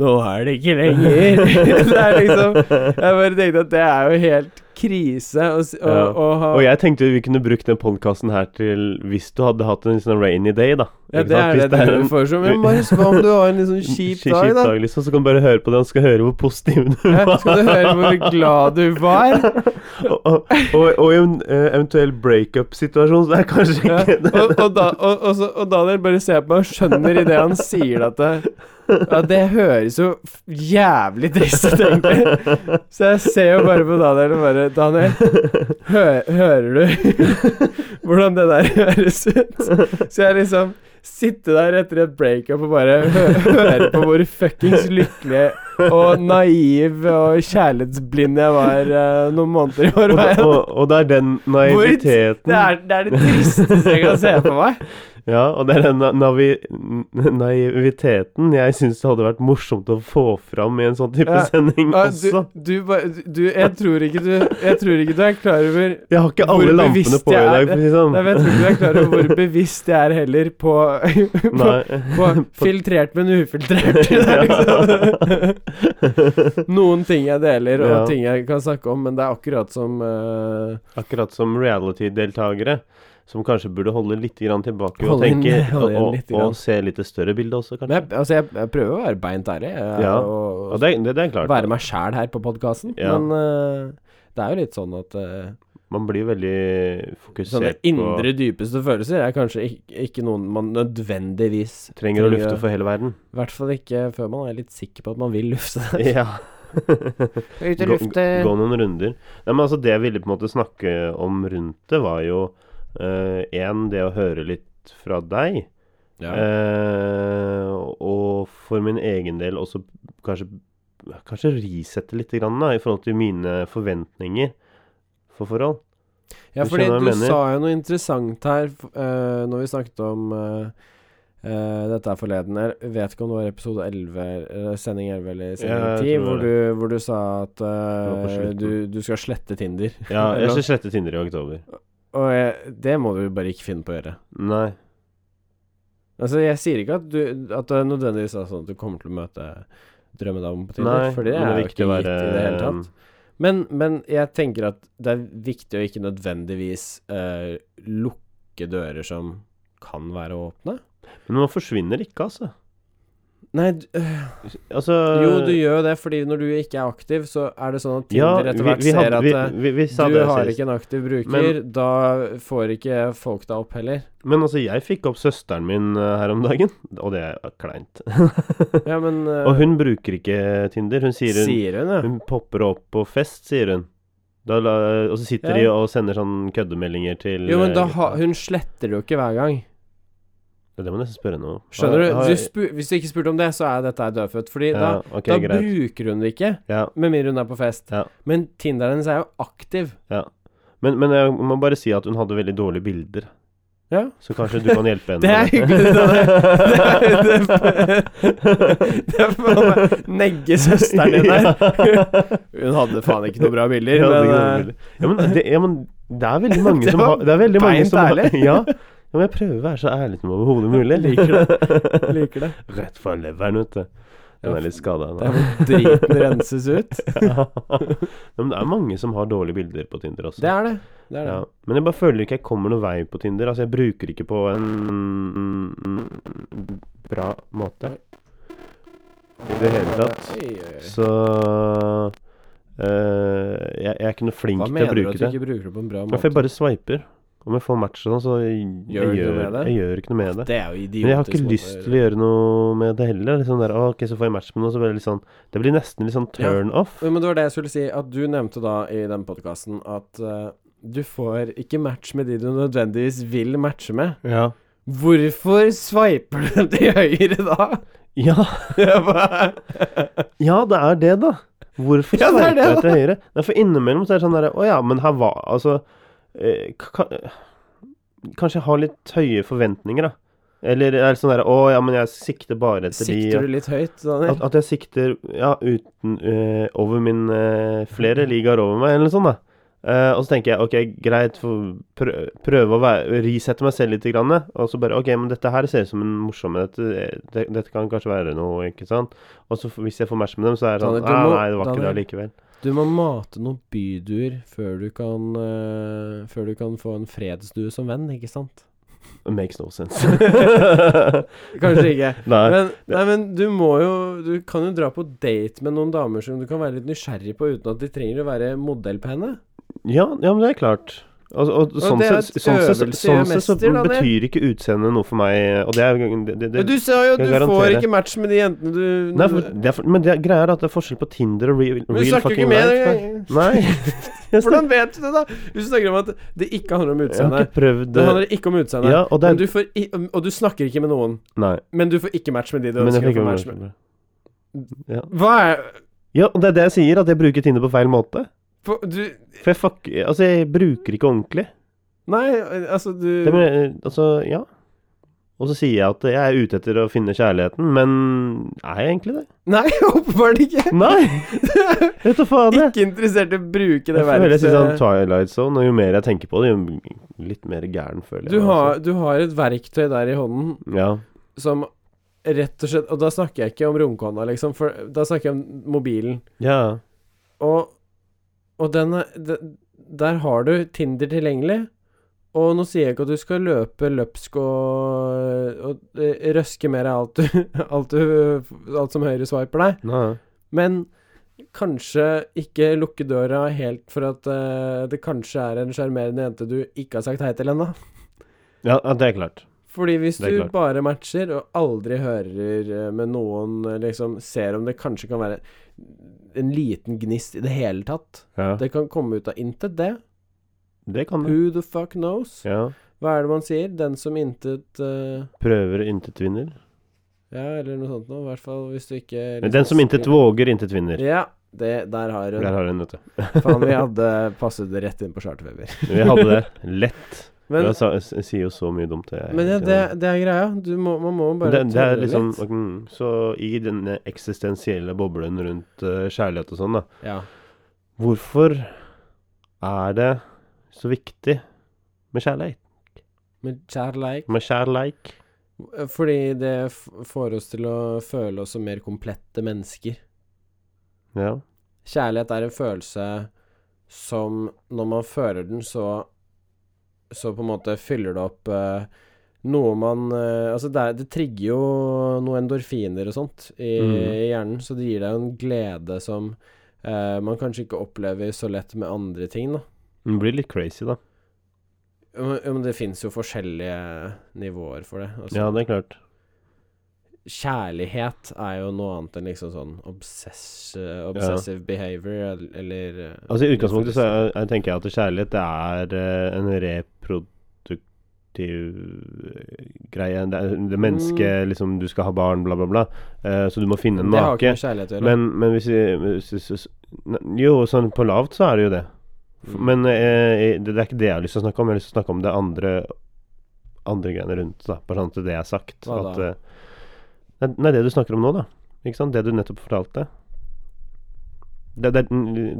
S1: Nå er det ikke lenger.
S2: [laughs]
S1: [laughs] det er liksom Jeg bare tenkte at det er jo helt krise å s- å-
S2: Ja.
S1: å ha
S2: Og jeg tenkte vi kunne brukt den podkasten her til Hvis du hadde hatt en sånn rainy day, da.
S1: Ja,
S2: Ikke
S1: det
S2: sant?
S1: er
S2: Hvis
S1: det dere
S2: en
S1: foreslår. Men Marius, hva om du har en litt sånn
S2: [laughs]
S1: kjip dag, da?
S2: liksom, så kan du bare høre på det. Han skal høre hvor positiv du
S1: Hæ?
S2: var.
S1: Skal du høre hvor glad du
S2: [laughs]
S1: var?
S2: og, og, og, og i en eh, eventuell breakup-situasjon, så er det kanskje
S1: Ja.
S2: ikke [laughs] det.
S1: Og, og, da, og, og, så, og Daniel bare ser på meg og skjønner idet han sier at det, ja, det høres jo f- jævlig trist ut, egentlig.
S2: [laughs]
S1: Så jeg ser jo bare på Daniel og bare Daniel, hø hører du [laughs] hvordan det der høres ut? Så jeg liksom sitter der etter et breakup og bare hø hører på hvor fuckings lykkelig og naiv og kjærlighetsblind jeg var eh, noen måneder i
S2: Og,
S1: forveien.
S2: og, og det er den naiviteten
S1: Det er, det er det tristeste jeg kan se på meg.
S2: Ja, og det er den na- navi, n- naiviteten jeg syns det hadde vært morsomt å få fram i en sånn type
S1: Ja.
S2: sending
S1: Ja, Du,
S2: også.
S1: du, ba- du, jeg, tror ikke du, jeg tror ikke du er klar over
S2: Jeg har ikke
S1: hvor
S2: alle lampene
S1: bevisst
S2: på i
S1: jeg er-
S2: dag, for å si det sånn.
S1: Nei, men Jeg tror ikke du er klar
S2: [laughs]
S1: over hvor bevisst jeg er heller på, på, på
S2: Nei.
S1: filtrert, men ufiltrert.
S2: [laughs]
S1: Det er liksom. [laughs] Noen ting jeg deler, og
S2: Ja.
S1: ting jeg kan snakke om, men det er akkurat som eh,
S2: Akkurat som reality-deltakere, som kanskje burde holde litt grann tilbake og
S1: Holde inn- [laughs]
S2: tenke
S1: holde igjen
S2: og,
S1: litt
S2: og,
S1: grann.
S2: og se litt det større bildet også,
S1: men jeg,
S2: kanskje.
S1: altså jeg, jeg prøver å være beint ærlig eh,
S2: Ja,
S1: og,
S2: Og det, er- det, det er klart.
S1: være meg sjæl her på podkasten,
S2: Ja.
S1: men eh, det er jo litt sånn at eh,
S2: Man blir veldig
S1: Sånne
S2: fokusert på
S1: indre dypeste følelser er kanskje ikke, ikke noen man nødvendigvis
S2: Trenger å lufte
S1: trenger-
S2: for hele
S1: [laughs]
S2: verden.
S1: I hvert fall ikke før man er litt sikker på at man vil
S2: [laughs]
S1: lufte.
S2: Ja.
S1: Ut
S2: gå, gå noen runder. Nei, men altså Det jeg ville på en måte snakke om rundt det, var jo én det å høre litt fra deg.
S1: Ja.
S2: Eh, og for min egen del også kanskje, kanskje risette litt grann, da, i forhold til mine forventninger for
S1: [laughs]
S2: forhold.
S1: ja,
S2: du
S1: fordi
S2: skjønner hva jeg
S1: du
S2: mener.
S1: sa jo noe interessant her f- eh, når vi snakket om eh, eh, dette er forleden. Jeg vet ikke om det var episode 11, eller sending 11 eller sending
S2: Ja, jeg tror
S1: 10, hvor
S2: det.
S1: du, hvor du sa at eh,
S2: Det var på slutten.
S1: du, du skal slette Tinder.
S2: Ja, jeg
S1: Ja.
S2: skal slette Tinder i oktober.
S1: Og jeg, det må du bare ikke finne på å gjøre.
S2: Nei.
S1: Altså, jeg sier ikke at, du, at det er nødvendigvis er sånn at du kommer til å møte drømmedamen på Tinder,
S2: Nei
S1: for det
S2: men
S1: er
S2: er
S1: jo
S2: viktig
S1: ikke
S2: å
S1: gitt i det hele
S2: være-
S1: tatt. Men, men jeg tenker at det er viktig å ikke nødvendigvis eh, lukke dører som kan være åpne.
S2: Men man forsvinner ikke, altså.
S1: Nei, d- øh,
S2: altså
S1: jo, du gjør jo det, fordi når du ikke er aktiv, så er det sånn at
S2: ja,
S1: Tinder etter
S2: vi-
S1: hvert
S2: vi
S1: ser
S2: hadde-
S1: at
S2: vi,
S1: eh,
S2: vi, vi sa
S1: du
S2: det
S1: har
S2: sist.
S1: ikke en aktiv bruker,
S2: Men-
S1: da får ikke folk deg opp heller.
S2: Men altså, jeg fikk opp søsteren min eh, her om dagen, og det er kleint. [laughs]
S1: Ja, men eh,
S2: Og hun bruker ikke Tinder. Hun sier hun,
S1: sier hun, ja.
S2: hun popper opp på fest, sier hun. Da, la- og så sitter de
S1: Ja.
S2: og sender sånn køddemeldinger til
S1: Jo, men
S2: eh,
S1: da
S2: gutta.
S1: ha, hun sletter det jo ikke hver gang.
S2: Det må jeg nesten spørre henne om. Har-
S1: Skjønner du?
S2: har-
S1: du spu hvis du ikke spurte om det, så er dette her dødfødt. Fordi
S2: ja,
S1: da,
S2: ok,
S1: da
S2: greit.
S1: bruker hun det ikke,
S2: Ja.
S1: med mindre hun er på fest.
S2: Ja.
S1: Men Tinderen hennes er jo aktiv.
S2: Men, men jeg må bare si at hun hadde veldig dårlige bilder.
S1: Ja.
S2: Så kanskje du kan
S1: [laughs]
S2: hjelpe henne
S1: Det er
S2: [laughs]
S1: hyggelig, det Det er faen meg negge søsteren din der. [laughs]
S2: der. [laughs]
S1: Hun hadde faen ikke noe bra bilder,
S2: Ja, det kan
S1: men eh,
S2: det være. ja, men, det, ja, men det er
S1: [laughs]
S2: veldig mange
S1: Det
S2: som
S1: var
S2: har Det er veldig mange
S1: beint
S2: som har-
S1: ærlig.
S2: [laughs] Ja, ja, men jeg prøver å være så ærlig som
S1: [laughs]
S2: overhodet mulig.
S1: Liker
S2: det.
S1: liker det.
S2: [laughs] Rett fra leveren, vet du. Den
S1: Ja,
S2: er litt skada [laughs]
S1: Der
S2: nå.
S1: hvor driten renses ut.
S2: Ja. Men det er mange som har dårlige bilder på Tinder også.
S1: Det er det. det, er
S2: Ja.
S1: det.
S2: Men jeg bare føler ikke jeg kommer noen vei på Tinder. Altså, jeg bruker ikke på en bra måte i det hele tatt.
S1: Oi, oi, oi.
S2: Så eh, jeg, jeg er ikke noe flink
S1: Hva
S2: til å
S1: mener du
S2: bruke
S1: at du
S2: det.
S1: ikke bruker det på en bra
S2: Ja, for jeg
S1: måte?
S2: bare sveiper. Om jeg får match og sånn, så jeg,
S1: Gjør du
S2: jeg,
S1: ikke noe
S2: gjør,
S1: med det?
S2: jeg gjør ikke noe med det.
S1: Det er jo idiotisk.
S2: Men jeg har ikke lyst til å gjøre noe med det heller. Liksom der, «Å, ok, så får jeg match med noe, så blir det litt sånn Det blir nesten litt sånn
S1: Ja.
S2: turn off.
S1: Jo, Men det var det jeg skulle si, at du nevnte da i den podkasten at eh, du får ikke match med de du nødvendigvis vil matche med.
S2: Ja.
S1: Hvorfor sveiper du til høyre da?
S2: Ja,
S1: Jeg bare-
S2: ja det er det, da. Hvorfor
S1: Ja, det er
S2: sveiper
S1: det,
S2: jeg
S1: da.
S2: til høyre? Nei, for innimellom så er det sånn derre Å ja, men her var Altså eh, ka, Kanskje jeg har litt høye forventninger, da. Eller er det sånn derre Å ja, men jeg sikter bare etter de
S1: Sikter du litt høyt, Daniel?
S2: at, at jeg sikter ja, uten, eh, over min eh,
S1: Mm.
S2: Flere ligaer over meg, eller noe sånt. da Eh, og så tenker jeg ok, greit, få prø- prøve å være, risette meg selv litt. Grann, eh. og så bare ok, men dette her ser ut som en morsom dette, det, dette kan kanskje være noe, ikke sant? Og så f- hvis jeg får match med dem, så er det sånn
S1: Daniel, du
S2: ah,
S1: må-
S2: Nei, det var ikke det
S1: Daniel.
S2: likevel.
S1: Du må mate noen byduer før du kan eh, Før du kan få en fredsdue som venn, ikke sant?
S2: It makes no sense. [laughs]
S1: Kanskje ikke.
S2: nei.
S1: Men, [laughs] nei, men du må jo Du kan jo dra på date med noen damer som du kan være litt nysgjerrig på, uten at de trenger å være modell på henne.
S2: Ja, ja, men det er klart. Og, og, sånn
S1: det er
S2: sett
S1: et
S2: sånn sett-
S1: øvelse
S2: sånn
S1: gjør
S2: sett så
S1: mester, Daniel.
S2: betyr ikke utseendet noe for meg, og det er det, det,
S1: Men du sa jo at
S2: jeg
S1: du får
S2: garanterer.
S1: ikke match med de jentene du
S2: Nei, for, det er for, men det er, greia er at det er forskjell på Tinder og real,
S1: Men du
S2: real
S1: snakker
S2: fucking
S1: jo ikke med
S2: life. da.
S1: dem.
S2: Nei, jeg snakker-
S1: [laughs] Hvordan vet du det, da? Du snakker om at det ikke handler [laughs] om
S2: jeg har
S1: utseendet.
S2: ikke prøvd
S1: Det
S2: det.
S1: handler ikke om utseendet.
S2: Ja, og det
S1: Men du
S2: er,
S1: får i, og du snakker ikke med noen.
S2: nei,
S1: Men du får ikke match med de du
S2: men jeg
S1: ønsker å
S2: fikk
S1: få
S2: jo
S1: match med.
S2: ja.
S1: Hva er
S2: ja, og det er det jeg sier, at jeg bruker Tinder på feil måte.
S1: på, Du
S2: For jeg fuck, altså, jeg bruker ikke ordentlig.
S1: Nei, altså, du
S2: Det, men, eh, altså, ja. Og så sier jeg at jeg er ute etter å finne kjærligheten, men er jeg
S1: [laughs]
S2: egentlig det?
S1: Nei, åpenbart ikke.
S2: Nei! Vet du faen det.
S1: Ikke interessert i å bruke det
S2: Jeg føler jeg sier sånn
S1: verktøyet.
S2: Twilight Zone, og jo mer jeg tenker på det, jo litt mer gæren føler jeg
S1: Du
S2: meg,
S1: har, du har et verktøy der i hånden
S2: altså. Ja.
S1: som rett og slett Og da snakker jeg ikke om romkona, liksom, for da snakker jeg om mobilen.
S2: Ja.
S1: Og, og den er de- Der har du Tinder tilgjengelig. Og nå sier jeg ikke at du skal løpe løpsk og, og eh, røske mer av alt, du- [laughs] alt, du- alt som høyre swiper deg,
S2: Nei.
S1: men kanskje ikke lukke døra helt for at eh, det kanskje er en sjarmerende jente du ikke har sagt hei til ennå.
S2: Ja, ja, det er klart.
S1: Fordi hvis
S2: Det er
S1: du
S2: klart.
S1: bare matcher og aldri hører eh, med noen, eh, liksom ser om det kanskje kan være en liten gnist i det hele tatt
S2: Ja.
S1: Det kan komme ut av intet, det.
S2: Det kan du.
S1: Who the fuck knows?
S2: Ja.
S1: Hva er det man sier? Den som intet eh,
S2: Prøver intet vinner.
S1: Ja, eller noe sånt noe. I hvert fall hvis du ikke liksom
S2: Men Den som intet våger, intet vinner.
S1: Ja, det, der har
S2: Der
S1: hun.
S2: har du den, vet du.
S1: Faen, vi hadde passet det rett inn på charterfeber.
S2: Vi hadde [laughs] det lett.
S1: Men,
S2: jeg, sa, jeg sier jo så mye dumt. Jeg,
S1: men ja, det, det er greia. Du må, man må bare
S2: det, det er
S1: tørre
S2: liksom
S1: litt.
S2: mm, Så i denne eksistensielle boblen rundt eh, kjærlighet og sånn, da
S1: Ja.
S2: Hvorfor er det så viktig med kjærleik?
S1: Men kjærleik
S2: Med kjærleik?
S1: Fordi det f får oss til å føle oss som mer komplette mennesker.
S2: Ja.
S1: Kjærlighet er en følelse som når man føler den, så Så på en måte fyller det opp eh, noe man eh, Altså, det, er, det trigger jo noen endorfiner og sånt i,
S2: Mhm.
S1: i hjernen, så det gir deg en glede som eh, man kanskje ikke opplever så lett med andre ting, da.
S2: Den blir litt crazy, da.
S1: Men men det fins jo forskjellige nivåer for det. Altså,
S2: Ja, det er klart.
S1: Kjærlighet er jo noe annet enn liksom sånn obsess, eh, obsessive behavior, el- eller eh,
S2: Altså I utgangspunktet så er, jeg tenker jeg at kjærlighet det er eh, en reproduktiv eh, greie. Det, er, det mennesket liksom Du skal ha barn, bla, bla, bla. Eh, så du må finne en
S1: Mm. Det har ikke
S2: make.
S1: med kjærlighet å gjøre.
S2: Men, men hvis, vi- hvis, hvis- hvis ne- Jo, sånn på lavt så er det jo det. F-
S1: Mm.
S2: Men eh, det, det er ikke det jeg har lyst til å snakke om. Jeg har lyst til å snakke om det andre Andre greiene rundt, da. Bare sånn at det er sagt.
S1: Hva
S2: at,
S1: da?
S2: eh, nei, nei, det du snakker om nå, da. Ikke sant? Det du nettopp fortalte. Det, det,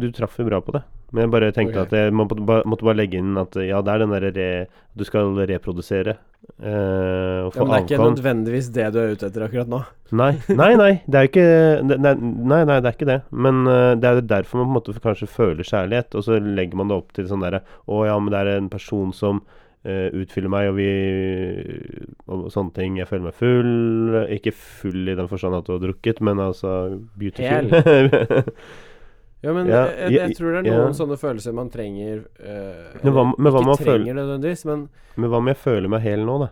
S2: du traff jo bra på det. Men jeg bare tenkte
S1: Ok.
S2: at jeg må, ba- måtte bare legge inn at eh, ja, det er den derre re... Du skal reprodusere. eh, og
S1: Ja,
S2: få
S1: men det er ikke
S2: avkom.
S1: nødvendigvis det du er ute etter akkurat nå.
S2: Nei, nei, nei, det er jo ikke det, det, er- Nei, nei, det er ikke det. Men eh, det er jo derfor man på en måte kanskje føler kjærlighet, og så legger man det opp til sånn derre Å ja, men det er en person som eh, utfyller meg, og vi Og sånne ting. Jeg føler meg full. Ikke full i den forstand at du har drukket, men altså beautiful.
S1: Ja, men eh,
S2: Ja,
S1: jeg, jeg, jeg
S2: jeg-
S1: tror det er
S2: ja.
S1: noen sånne følelser man trenger eh,
S2: Men hva- men hva
S1: Ikke
S2: man
S1: trenger
S2: føler-
S1: det nødvendigvis, men
S2: [laughs] men hva om jeg føler meg hel nå, da?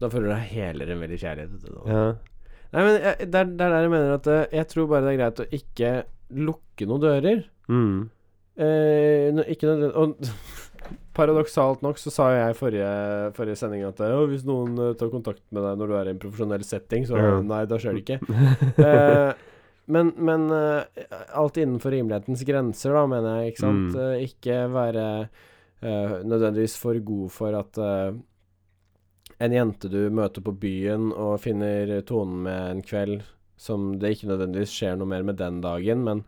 S1: da føler du deg helere enn veldig kjærlighet. vet du da.
S2: Ja.
S1: Nei, men jeg, det, er, det er der jeg mener at eh, jeg tror bare det er greit å ikke lukke noen dører.
S2: Mm.
S1: Eh, nå- ikke nødvendig Og [laughs] paradoksalt nok så sa jo jeg i forrige, forrige sending at eh, «Å, hvis noen eh, tar kontakt med deg når du er i en profesjonell setting, så
S2: Ja.
S1: nei, da skjer det ikke. Eh, Men, men eh, alt innenfor rimelighetens grenser, da, mener jeg. Ikke sant?
S2: Mm.
S1: Eh, ikke være eh, nødvendigvis for god for at eh, en jente du møter på byen og finner tonen med en kveld som det ikke nødvendigvis skjer noe mer med den dagen, men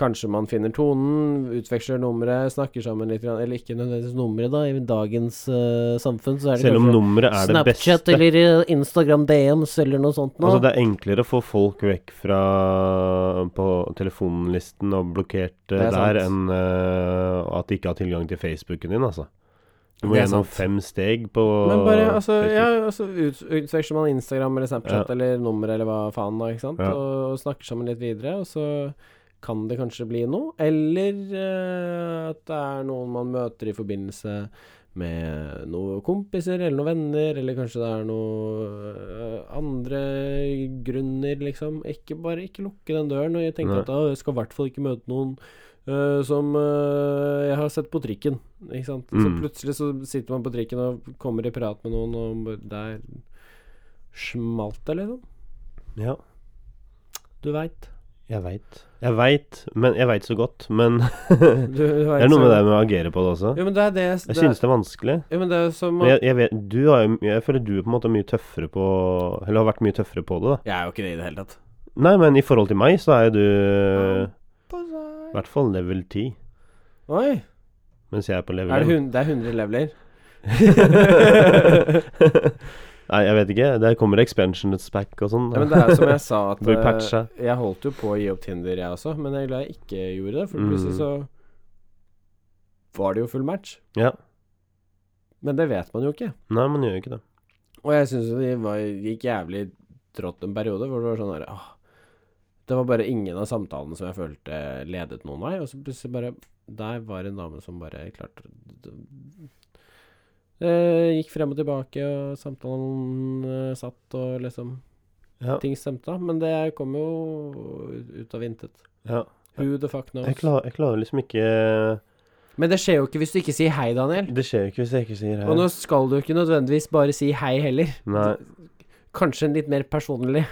S1: kanskje man finner tonen, utveksler nummeret, snakker sammen litt, grann, eller ikke nødvendigvis nummeret, da. I dagens eh, samfunn så er det
S2: Selv om
S1: kanskje
S2: nummeret er det beste.
S1: Snapchat eller eh, Instagram DMs eller noe sånt nå.
S2: Altså, det er enklere å få folk vekk fra på telefonlisten og blokkert eh,
S1: Det er sant.
S2: der, enn eh, at de ikke har tilgang til Facebooken din, altså. Du må
S1: Det er
S2: gjennom
S1: sant.
S2: fem steg på
S1: Men bare, altså, ja,
S2: Facebook.
S1: altså ut, utveksler man Instagram eller Snapchat
S2: Ja.
S1: eller nummer eller hva faen, da, ikke sant,
S2: Ja.
S1: og, og snakker sammen litt videre, og så kan det kanskje bli noe, eller eh, at det er noen man møter i forbindelse med noen kompiser eller noen venner, eller kanskje det er noen andre grunner, liksom. Ikke bare ikke lukke den døren, og jeg tenkte
S2: Nei.
S1: at da jeg skal i hvert fall ikke møte noen eh, som eh, jeg har sett på trikken, ikke sant. Så
S2: Mm.
S1: plutselig så sitter man på trikken og kommer i prat med noen, og bare, der smalt det, liksom.
S2: Ja,
S1: Du veit.
S2: jeg veit. Jeg veit, men jeg veit så godt. Men
S1: Du,
S2: det
S1: du vet,
S2: er noe med
S1: så-
S2: det med å agere på det også.
S1: Jo, men det er det
S2: Jeg
S1: det,
S2: synes det er vanskelig.
S1: jo, men det er som
S2: Men jeg, jeg, vet, du har, jo- jeg føler du er på en måte mye tøffere på Eller har vært mye tøffere på det, da.
S1: Jeg er jo ikke det i det hele tatt.
S2: Nei, men i forhold til meg, så er jo du i
S1: Oi.
S2: hvert fall level 10, mens jeg er på level
S1: Er
S2: 1.
S1: det, hun, det er 100 leveler.
S2: [laughs] Nei, jeg vet ikke. Der kommer expansionets pack og sånn.
S1: Ja, men det er som
S2: [laughs]
S1: jeg sa, at
S2: Blir
S1: eh,
S2: patcha.
S1: jeg holdt jo på å gi opp Tinder, jeg også, men jeg er glad jeg ikke gjorde det, for
S2: Mm.
S1: plutselig så var det jo full match.
S2: Ja.
S1: Men det vet man jo ikke.
S2: Nei, man gjør jo ikke det.
S1: Og jeg syns det var, gikk jævlig trått en periode, hvor det var sånn der åh, Det var bare ingen av samtalene som jeg følte ledet noen vei, og så plutselig bare Der var en dame som bare klarte det eh, gikk frem og tilbake, og samtalen eh, satt, og liksom
S2: Ja.
S1: Ting stemte, da. Men det kom jo ut av intet.
S2: ja.
S1: Who the fuck knows?
S2: Jeg, klarer, jeg klarer liksom ikke
S1: Men det skjer jo ikke hvis du ikke sier hei, Daniel.
S2: Det skjer jo ikke hvis jeg ikke sier
S1: Og
S2: hei.
S1: nå skal du ikke nødvendigvis bare si hei heller.
S2: Nei.
S1: Kanskje en litt mer personlig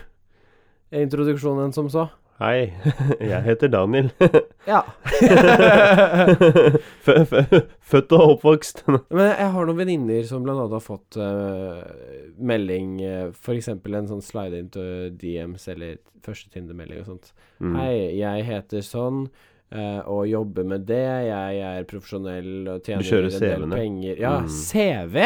S1: introduksjon enn som så.
S2: Hei, [laughs] jeg heter
S1: [laughs]
S2: Daniel.
S1: Ja.
S2: Fø- fø- Født og oppvokst.
S1: Men jeg har noen venninner som blant annet har fått eh, melding, eh, for f.eks. en sånn slide into DMs eller første Tinder-melding og sånt.
S2: Mm.
S1: Hei, jeg heter sånn eh, og jobber med det. Jeg er profesjonell og tjener
S2: kjører
S1: en del
S2: CV-ene.
S1: penger. Ja,
S2: Mm.
S1: CV!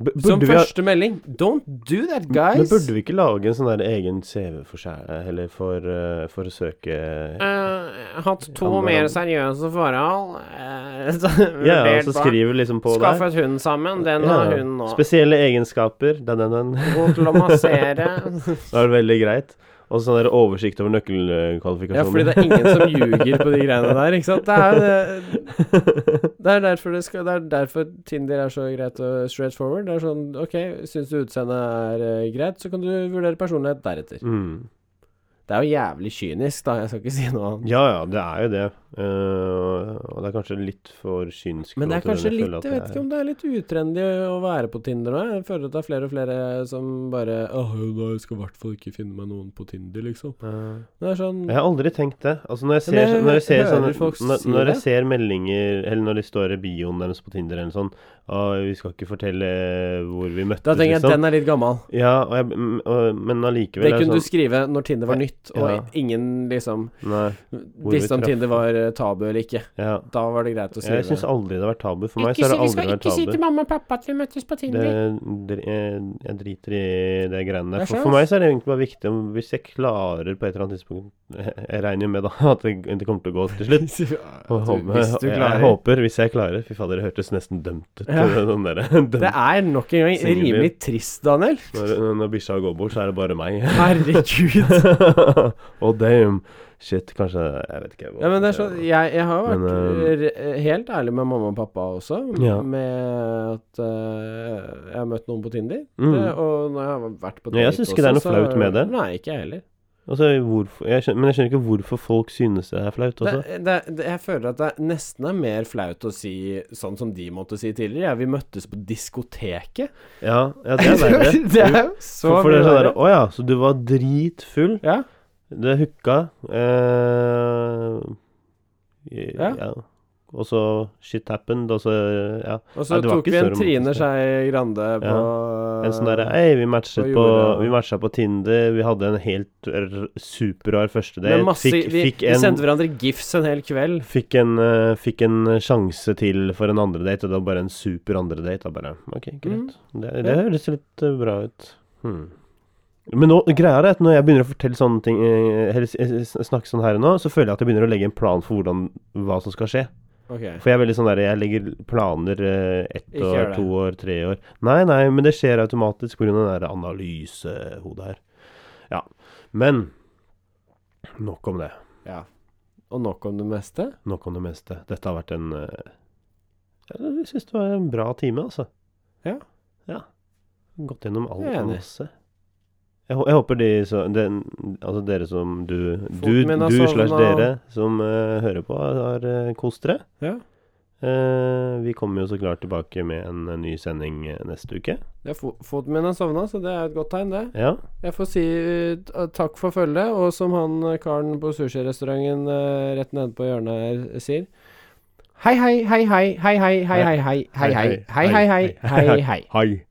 S2: B-
S1: Som
S2: burde vi ha-
S1: første melding. Don't do that, guys!
S2: Men burde vi ikke lage en sånn der egen CV for seg, eller for, eh, for å søke
S1: Eh, hatt to
S2: Andre
S1: mer
S2: land.
S1: seriøse forhold. eh, [laughs] så
S2: Ja,
S1: vurdert
S2: og så
S1: barn.
S2: skriver liksom på der.
S1: Skaffet hund sammen. Den har
S2: Ja.
S1: hun nå.
S2: Spesielle egenskaper. Den, den, den.
S1: God til
S2: [laughs]
S1: å massere.
S2: Det var veldig greit. Og sånn der oversikt over nøkkelkvalifikasjoner.
S1: ja, fordi det er ingen som ljuger på de greiene der, ikke sant. Det er,
S2: [laughs]
S1: jo det, det er derfor det skal Det er derfor Tinder er så greit og straight forward. Det er sånn OK, syns du utseendet er eh, greit, så kan du vurdere personlighet deretter.
S2: Mm.
S1: Det er jo jævlig kynisk, da. Jeg skal ikke si noe annet.
S2: Ja, ja, det er jo det. Eh, og det er kanskje litt for synsk.
S1: Men det er
S2: forhold
S1: kanskje
S2: til den
S1: litt
S2: føler
S1: Jeg vet
S2: at
S1: ikke om det er litt utrendy å være på Tinder nå. Jeg føler at det er flere og flere som bare Åh, nei, jeg skal i hvert fall ikke finne meg noen på Tinder, liksom.
S2: jeg er. Eh,
S1: Det er sånn
S2: Jeg har aldri tenkt det. Altså Når jeg
S1: Men
S2: ser,
S1: jeg
S2: når jeg ser,
S1: hører
S2: sånne,
S1: folk
S2: når,
S1: si
S2: når jeg
S1: det.
S2: ser meldinger, eller når de står i bioen deres på Tinder eller sånn «Å, 'Vi skal ikke fortelle hvor vi møttes',
S1: Da tenker jeg at
S2: liksom.
S1: den er litt gammel.
S2: Ja, og jeg, mm, og, men allikevel
S1: Det
S2: er
S1: kunne
S2: det sånn
S1: du skrive når Tinder var nytt, og
S2: Ja.
S1: ingen liksom
S2: sånn Nei. vi
S1: visste om
S2: traff.
S1: Tinder var eh, tabu eller ikke.
S2: Ja.
S1: Da var det greit å
S2: Jeg
S1: skrive. [laughs]
S2: syns aldri det har vært tabu. For meg så har det aldri vært tabu.
S1: mamma og pappa at vi møttes på
S2: Det, dr- jeg, jeg driter i de greiene
S1: Det er
S2: der. For,
S1: sant.
S2: for meg så er det egentlig bare viktig om hvis jeg klarer på et eller annet tidspunkt [laughs] Jeg, jeg regner jo med da [laughs] at det, det kommer til å gå til slutt.
S1: Hvis
S2: Og håper-
S1: du
S2: jeg, jeg
S1: klarer.
S2: håper, hvis jeg klarer Fy fader, det hørtes nesten dømt ut.
S1: Ja.
S2: [laughs] Den der, dømt.
S1: Det er nok en gang
S2: Singelliv.
S1: rimelig trist, Daniel.
S2: [laughs] Når, når bikkja går bort, så er det bare
S1: [laughs]
S2: meg. [laughs]
S1: Herregud.
S2: oh damn. Shit, kanskje Jeg vet ikke. hva-
S1: Ja, men det er sånn, jeg, jeg har vært
S2: Men, eh,
S1: r- helt ærlig med mamma og pappa også, m-
S2: Ja.
S1: med at eh, jeg har møtt noen på Tinder.
S2: Mm.
S1: Det, og når jeg har vært på
S2: Ja, jeg
S1: date
S2: synes ikke det er
S1: også,
S2: noe
S1: så-
S2: flaut med det.
S1: Nei, ikke jeg heller.
S2: Altså, hvorfor, jeg skjønner, men jeg skjønner ikke hvorfor folk synes det er flaut altså.
S1: Det,
S2: også.
S1: det, det, jeg føler at det nesten er mer flaut å si sånn som de måtte si tidligere. Ja, vi møttes på diskoteket.
S2: Ja, ja [laughs] det er verre.
S1: [laughs] det er jo så
S2: For, for det er sånn
S1: mye
S2: der
S1: verre.
S2: Å ja, så du var dritfull?
S1: Ja.
S2: Det hooka eh, ja.
S1: Ja.
S2: ja. Og så shit happened, og så ja.
S1: Og
S2: Nei,
S1: så
S2: det var
S1: tok
S2: ikke
S1: vi en
S2: så romantisk,
S1: Trine
S2: det.
S1: Skei Grande på
S2: En sånn derre Hei, vi matchet
S1: Hva
S2: på
S1: gjorde jeg?
S2: Vi matcha på Tinder, vi hadde en helt r- superrar første
S1: med
S2: date.
S1: masse,
S2: fikk,
S1: vi,
S2: fikk
S1: vi
S2: en
S1: sendte hverandre gifs en hel kveld.
S2: Fikk en, eh, fikk en sjanse til for en andre date, og det var bare en super andre date. Da bare OK, greit. Det, det
S1: Mm. Ja.
S2: høres litt eh, bra ut. Hmm. Men nå, greia er at når jeg begynner å fortelle sånne ting, eh, eller s- s- snakke sånn her nå, så føler jeg at jeg begynner å legge en plan for hvordan, hva som skal skje.
S1: Ok.
S2: For jeg er veldig sånn der, jeg legger planer eh, ett
S1: Ikke gjør
S2: år,
S1: det.
S2: to år, tre år. Nei, nei, men det skjer automatisk pga. det der analysehodet her. Ja. Men nok om det.
S1: Ja. Og nok om det meste.
S2: Nok om det meste. Dette har vært en eh, Jeg syns det var en bra time, altså.
S1: Ja.
S2: Ja. Gått gjennom alt
S1: Jeg er enig.
S2: masse. Jeg, hå- jeg håper de så, den, Altså dere som du Du,
S1: Foten min har
S2: du slash
S1: sovna.
S2: dere som eh, hører på, har eh, kost dere.
S1: Ja.
S2: Eh, vi kommer jo så klart tilbake med en, eh, ny sending eh, neste uke.
S1: Det er fo foten min har sovna, så det er et godt tegn, det.
S2: Ja.
S1: Jeg får si eh, takk for følget, og som han eh, karen på sushirestauranten eh, rett nede på hjørnet her sier Hei, hei, hei, hei, hei, hei, hei, hei, hei, hei, hei, hei, hei, hei, hei, hei.
S2: Hei.